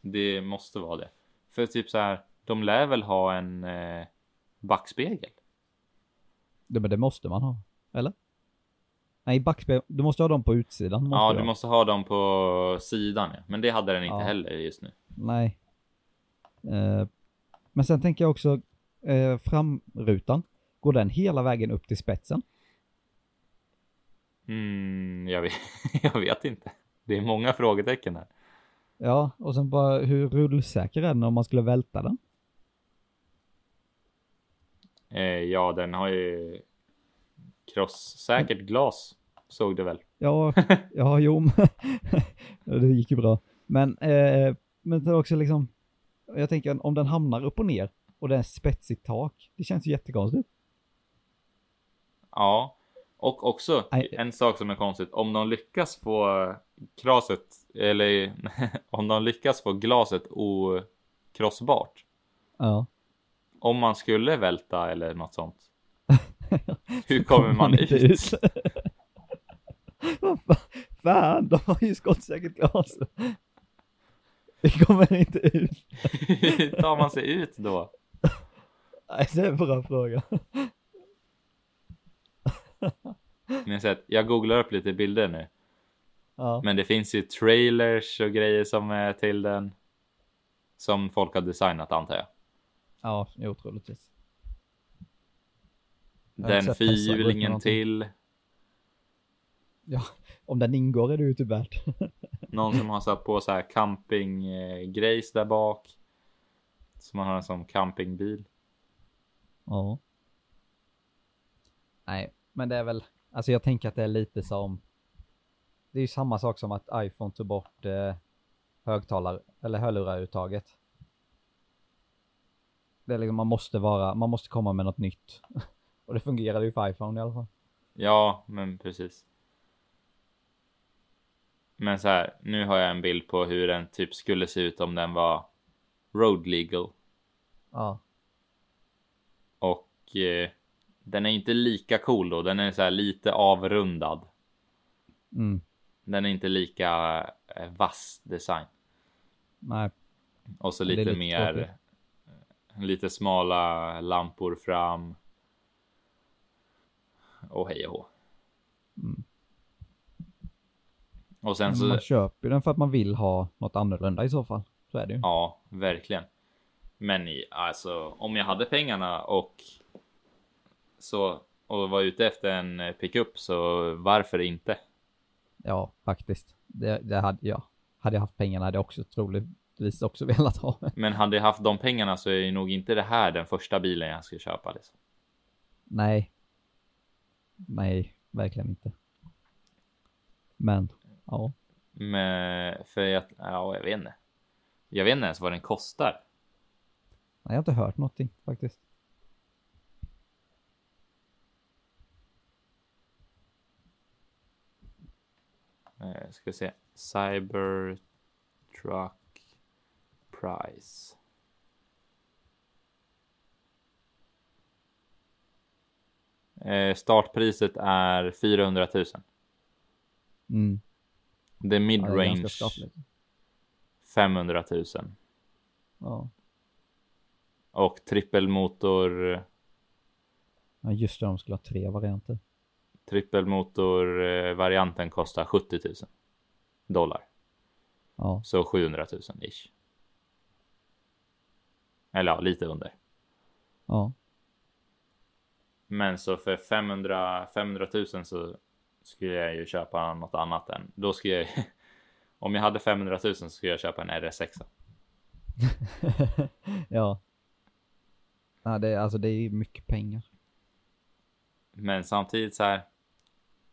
[SPEAKER 1] det måste vara det. För typ så här, de lär väl ha en eh, backspegel?
[SPEAKER 2] det. Men det måste man ha. Eller? Nej, backspegel. Du måste ha dem på utsidan. Måste
[SPEAKER 1] ja,
[SPEAKER 2] du
[SPEAKER 1] du
[SPEAKER 2] ha.
[SPEAKER 1] måste ha dem på sidan, ja. men det hade den inte
[SPEAKER 2] Ja.
[SPEAKER 1] heller just nu.
[SPEAKER 2] Nej. Eh, men sen tänker jag också eh, framrutan. Går den hela vägen upp till spetsen?
[SPEAKER 1] Mm, jag, vet, [LAUGHS] jag vet inte. Det är många frågetecken här.
[SPEAKER 2] Ja, och sen bara hur rullsäker är den om man skulle välta den?
[SPEAKER 1] Eh, ja, den har ju krosssäkert glas, såg du väl?
[SPEAKER 2] Ja, ja jo, men- [LAUGHS] det gick ju bra. Men, eh, men det är också liksom, jag tänker om den hamnar upp och ner och det är spetsigt tak, det känns ju jättekonstigt.
[SPEAKER 1] Ja, Och också
[SPEAKER 2] Nej.
[SPEAKER 1] en sak som är konstigt. Om de lyckas få kraset eller [LAUGHS] om de lyckas få glaset okrossbart.
[SPEAKER 2] Ja.
[SPEAKER 1] Om man skulle välta eller något
[SPEAKER 2] [LAUGHS]
[SPEAKER 1] sånt. Hur kommer man
[SPEAKER 2] inte
[SPEAKER 1] ut?
[SPEAKER 2] [LAUGHS] Vad fa- Fan, de har ju skottsäkert glas. Vi kommer inte ut.
[SPEAKER 1] [LAUGHS] Hur tar man sig ut då?
[SPEAKER 2] Nej, det är en bra fråga.
[SPEAKER 1] Men jag, säger att jag googlar upp lite bilder nu.
[SPEAKER 2] Ja.
[SPEAKER 1] Men det finns ju trailers och grejer som är till den. Som folk har designat antar jag.
[SPEAKER 2] Ja, jo, troligtvis. Jag har inte
[SPEAKER 1] Den
[SPEAKER 2] sett Tesla gå ut med
[SPEAKER 1] fyrhjulingen
[SPEAKER 2] någonting.
[SPEAKER 1] till.
[SPEAKER 2] Om den ingår är det ju typ värt.
[SPEAKER 1] Någon som har satt på så här campinggrejs där bak. Så man har en som campingbil.
[SPEAKER 2] Ja. Nej, men det är väl, alltså jag tänker att det är lite som, det är ju samma sak som att iPhone tog bort eh, högtalare, eller hörluraruttaget. Det är liksom, man måste vara, man måste komma med något nytt. [LAUGHS] Och det fungerade ju för iPhone i alla fall.
[SPEAKER 1] Ja, men precis. Men så här, nu har jag en bild på hur den typ skulle se ut om den var road legal.
[SPEAKER 2] Ja,
[SPEAKER 1] Och eh, den är inte lika cool då. Den är så här lite avrundad.
[SPEAKER 2] mm.
[SPEAKER 1] Den är inte lika eh, vass design.
[SPEAKER 2] nej,
[SPEAKER 1] Och så
[SPEAKER 2] Det är
[SPEAKER 1] lite,
[SPEAKER 2] lite
[SPEAKER 1] mer. eh,
[SPEAKER 2] tråkigt.
[SPEAKER 1] Lite smala lampor fram. Och hej och hå.
[SPEAKER 2] Mm.
[SPEAKER 1] Och sen så.
[SPEAKER 2] man köper ju den för att man vill ha något annorlunda i så fall. Så är det ju.
[SPEAKER 1] Ja, verkligen. Men i- alltså om jag hade pengarna och. Så och var ute efter en eh, pickup så varför inte?
[SPEAKER 2] Ja, faktiskt. Det, det hade jag. Hade jag haft pengarna hade jag också troligtvis också [LAUGHS] velat ha.
[SPEAKER 1] Men hade jag haft de pengarna så är ju nog inte det här den första bilen jag skulle köpa. Liksom.
[SPEAKER 2] Nej. Nej, verkligen inte. Men, ja.
[SPEAKER 1] Men för jag, ja, jag vet inte. Jag vet inte ens vad den kostar.
[SPEAKER 2] Nej, jag har inte hört någonting faktiskt.
[SPEAKER 1] Eh, ska vi se. Cybertruck price. Eh, startpriset är 400 000.
[SPEAKER 2] Mm.
[SPEAKER 1] Det är
[SPEAKER 2] Ja, det är
[SPEAKER 1] midrange
[SPEAKER 2] ganska skapligt.
[SPEAKER 1] 500 000.
[SPEAKER 2] Ja.
[SPEAKER 1] Och trippelmotor,
[SPEAKER 2] ja, just det, de skulle ha tre varianter.
[SPEAKER 1] trippelmotor eh, varianten kostar 70 000 dollar.
[SPEAKER 2] Ja,
[SPEAKER 1] Så 700 000 ish. Eller ja, lite under.
[SPEAKER 2] ja. [LAUGHS]
[SPEAKER 1] Men så för 500, 500 000 så skulle jag ju köpa något annat än. Då skulle jag [LAUGHS] Om jag hade 500 000 så skulle jag köpa en RS6.
[SPEAKER 2] ja. ja det, är- alltså det är ju mycket pengar.
[SPEAKER 1] Men samtidigt så här.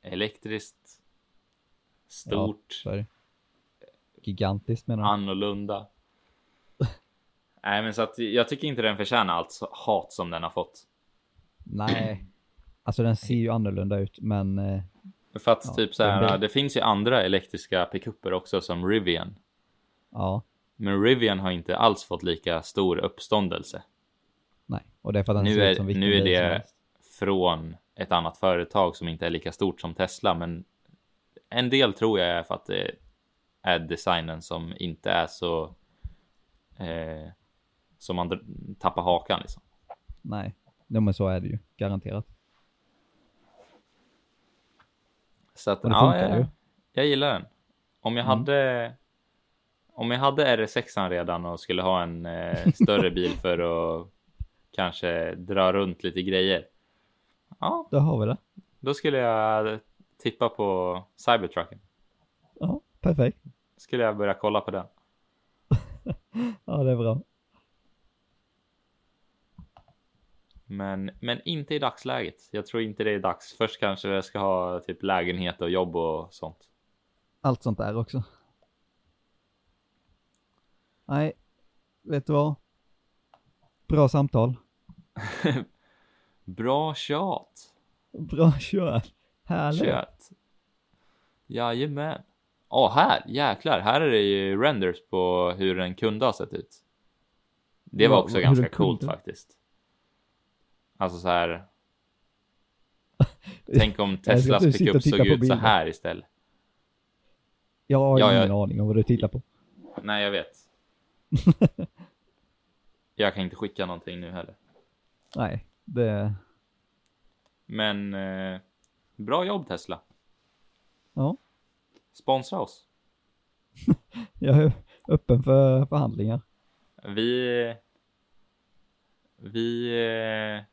[SPEAKER 1] Elektriskt. Stort.
[SPEAKER 2] Så är det. Gigantiskt menar jag.
[SPEAKER 1] [LAUGHS] annorlunda. Nej, men så att jag tycker inte den förtjänar allt så- hat som den har fått.
[SPEAKER 2] Nej. Alltså den ser ju annorlunda ut, men eh,
[SPEAKER 1] För att
[SPEAKER 2] Ja,
[SPEAKER 1] typ så
[SPEAKER 2] det
[SPEAKER 1] här,
[SPEAKER 2] blir-
[SPEAKER 1] det finns ju andra elektriska pickuper också som Rivian.
[SPEAKER 2] ja.
[SPEAKER 1] Men Rivian har inte alls fått lika stor uppståndelse
[SPEAKER 2] Nej. Och det är för att den
[SPEAKER 1] Nu
[SPEAKER 2] ser
[SPEAKER 1] är-
[SPEAKER 2] ut som vilken
[SPEAKER 1] nu är
[SPEAKER 2] bil som
[SPEAKER 1] det-
[SPEAKER 2] helst.
[SPEAKER 1] från ett annat företag som inte är lika stort som Tesla. Men en del tror jag är för att det är designen som inte är så eh, som man dr- tappar hakan liksom.
[SPEAKER 2] Nej. Ja, men så är det ju. Garanterat.
[SPEAKER 1] Så att,
[SPEAKER 2] Och det
[SPEAKER 1] ja,
[SPEAKER 2] funkar
[SPEAKER 1] jag,
[SPEAKER 2] ju.
[SPEAKER 1] jag gillar den. Om jag
[SPEAKER 2] Mm.
[SPEAKER 1] hade om jag hade RS6 redan och skulle ha en eh, större bil för att kanske dra runt lite grejer. Ja,
[SPEAKER 2] Där har vi det.
[SPEAKER 1] då skulle jag tippa på Cybertrucken.
[SPEAKER 2] Ja, perfekt.
[SPEAKER 1] Skulle jag börja kolla på den.
[SPEAKER 2] Ja, det är bra.
[SPEAKER 1] Men, men inte i dagsläget. Jag tror inte det är dags. Först kanske jag ska ha typ lägenhet och jobb och sånt.
[SPEAKER 2] Allt sånt där också. Nej, vet du vad? Bra samtal.
[SPEAKER 1] Bra tjat!
[SPEAKER 2] Bra [LAUGHS] kört. Härligt.
[SPEAKER 1] Kött. Jajamän. Åh, här, jäklar, här är det ju renders på hur en kunde ha sett ut. Det var
[SPEAKER 2] Ja,
[SPEAKER 1] också
[SPEAKER 2] hur
[SPEAKER 1] ganska
[SPEAKER 2] den
[SPEAKER 1] coolt
[SPEAKER 2] kunde.
[SPEAKER 1] faktiskt. Alltså så
[SPEAKER 2] [LAUGHS]
[SPEAKER 1] här.
[SPEAKER 2] Jag
[SPEAKER 1] Tänk om
[SPEAKER 2] ska
[SPEAKER 1] Teslas
[SPEAKER 2] inte sitta
[SPEAKER 1] pickup
[SPEAKER 2] och titta
[SPEAKER 1] såg
[SPEAKER 2] på
[SPEAKER 1] ut så
[SPEAKER 2] bilden.
[SPEAKER 1] här istället.
[SPEAKER 2] Jag har
[SPEAKER 1] Ja,
[SPEAKER 2] ingen aning om vad du tittar på.
[SPEAKER 1] Nej, jag vet. jag kan inte skicka någonting nu heller.
[SPEAKER 2] Nej, det...
[SPEAKER 1] Men eh, bra jobb Tesla.
[SPEAKER 2] Ja.
[SPEAKER 1] Sponsra oss.
[SPEAKER 2] Jag är öppen för förhandlingar.
[SPEAKER 1] Vi... Vi... eh,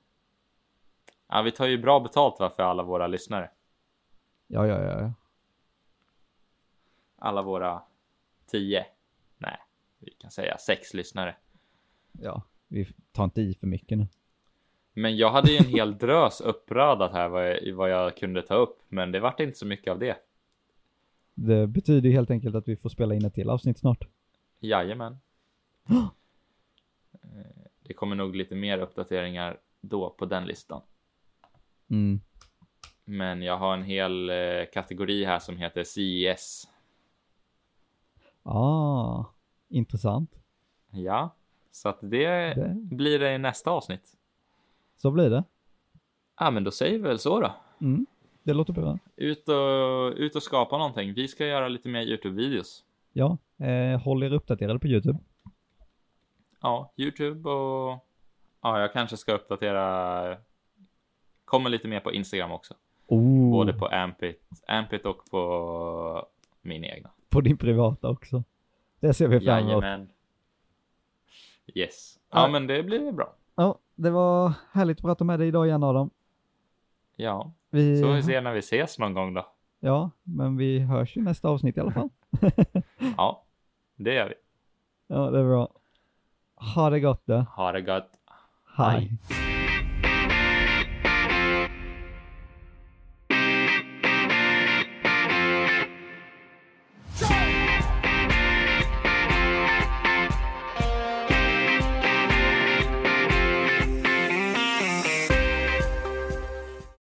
[SPEAKER 1] Ja, vi tar ju bra betalt va, för alla våra lyssnare.
[SPEAKER 2] Ja, ja, ja. ja.
[SPEAKER 1] Alla våra tio. Nej, vi kan säga sex lyssnare.
[SPEAKER 2] ja. Vi tar inte i för mycket nu.
[SPEAKER 1] Men jag hade ju en hel drös uppradat här vad jag, vad jag kunde ta upp. Men det vart inte så mycket av det.
[SPEAKER 2] Det betyder ju helt enkelt att vi får spela in ett till avsnitt snart.
[SPEAKER 1] Jajamän. Eh, Det kommer nog lite mer uppdateringar då på den listan.
[SPEAKER 2] Mm.
[SPEAKER 1] Men jag har en hel eh, kategori här som heter E CES.
[SPEAKER 2] Ah, intressant.
[SPEAKER 1] Ja, så att det
[SPEAKER 2] Det,
[SPEAKER 1] blir det i nästa avsnitt.
[SPEAKER 2] så blir det.
[SPEAKER 1] Ja, men då säger vi väl så då.
[SPEAKER 2] Mm. Det låter bra.
[SPEAKER 1] Ut och, ut och skapa någonting. Vi ska göra lite mer Youtube-videos.
[SPEAKER 2] Ja, eh, håll er uppdaterade på YouTube.
[SPEAKER 1] Ja, Youtube och... Ja, jag kanske ska uppdatera... Kommer lite mer på Instagram också.
[SPEAKER 2] Oh,
[SPEAKER 1] Både på Ampit, Ampit och på min egna.
[SPEAKER 2] på din privata också. Det ser vi fram emot.
[SPEAKER 1] Jajamän. Yes. Ja,
[SPEAKER 2] Ja.
[SPEAKER 1] men det blir bra.
[SPEAKER 2] Ja, det var härligt att prata med dig idag igen Adam.
[SPEAKER 1] Ja,
[SPEAKER 2] Vi,
[SPEAKER 1] så får vi se när vi ses någon gång då.
[SPEAKER 2] Ja, men vi hörs i nästa avsnitt i alla fall.
[SPEAKER 1] Ja, det gör vi.
[SPEAKER 2] Ja, det är bra. Ha det gott då.
[SPEAKER 1] Ha det gott.
[SPEAKER 2] Hej.
[SPEAKER 1] Hej.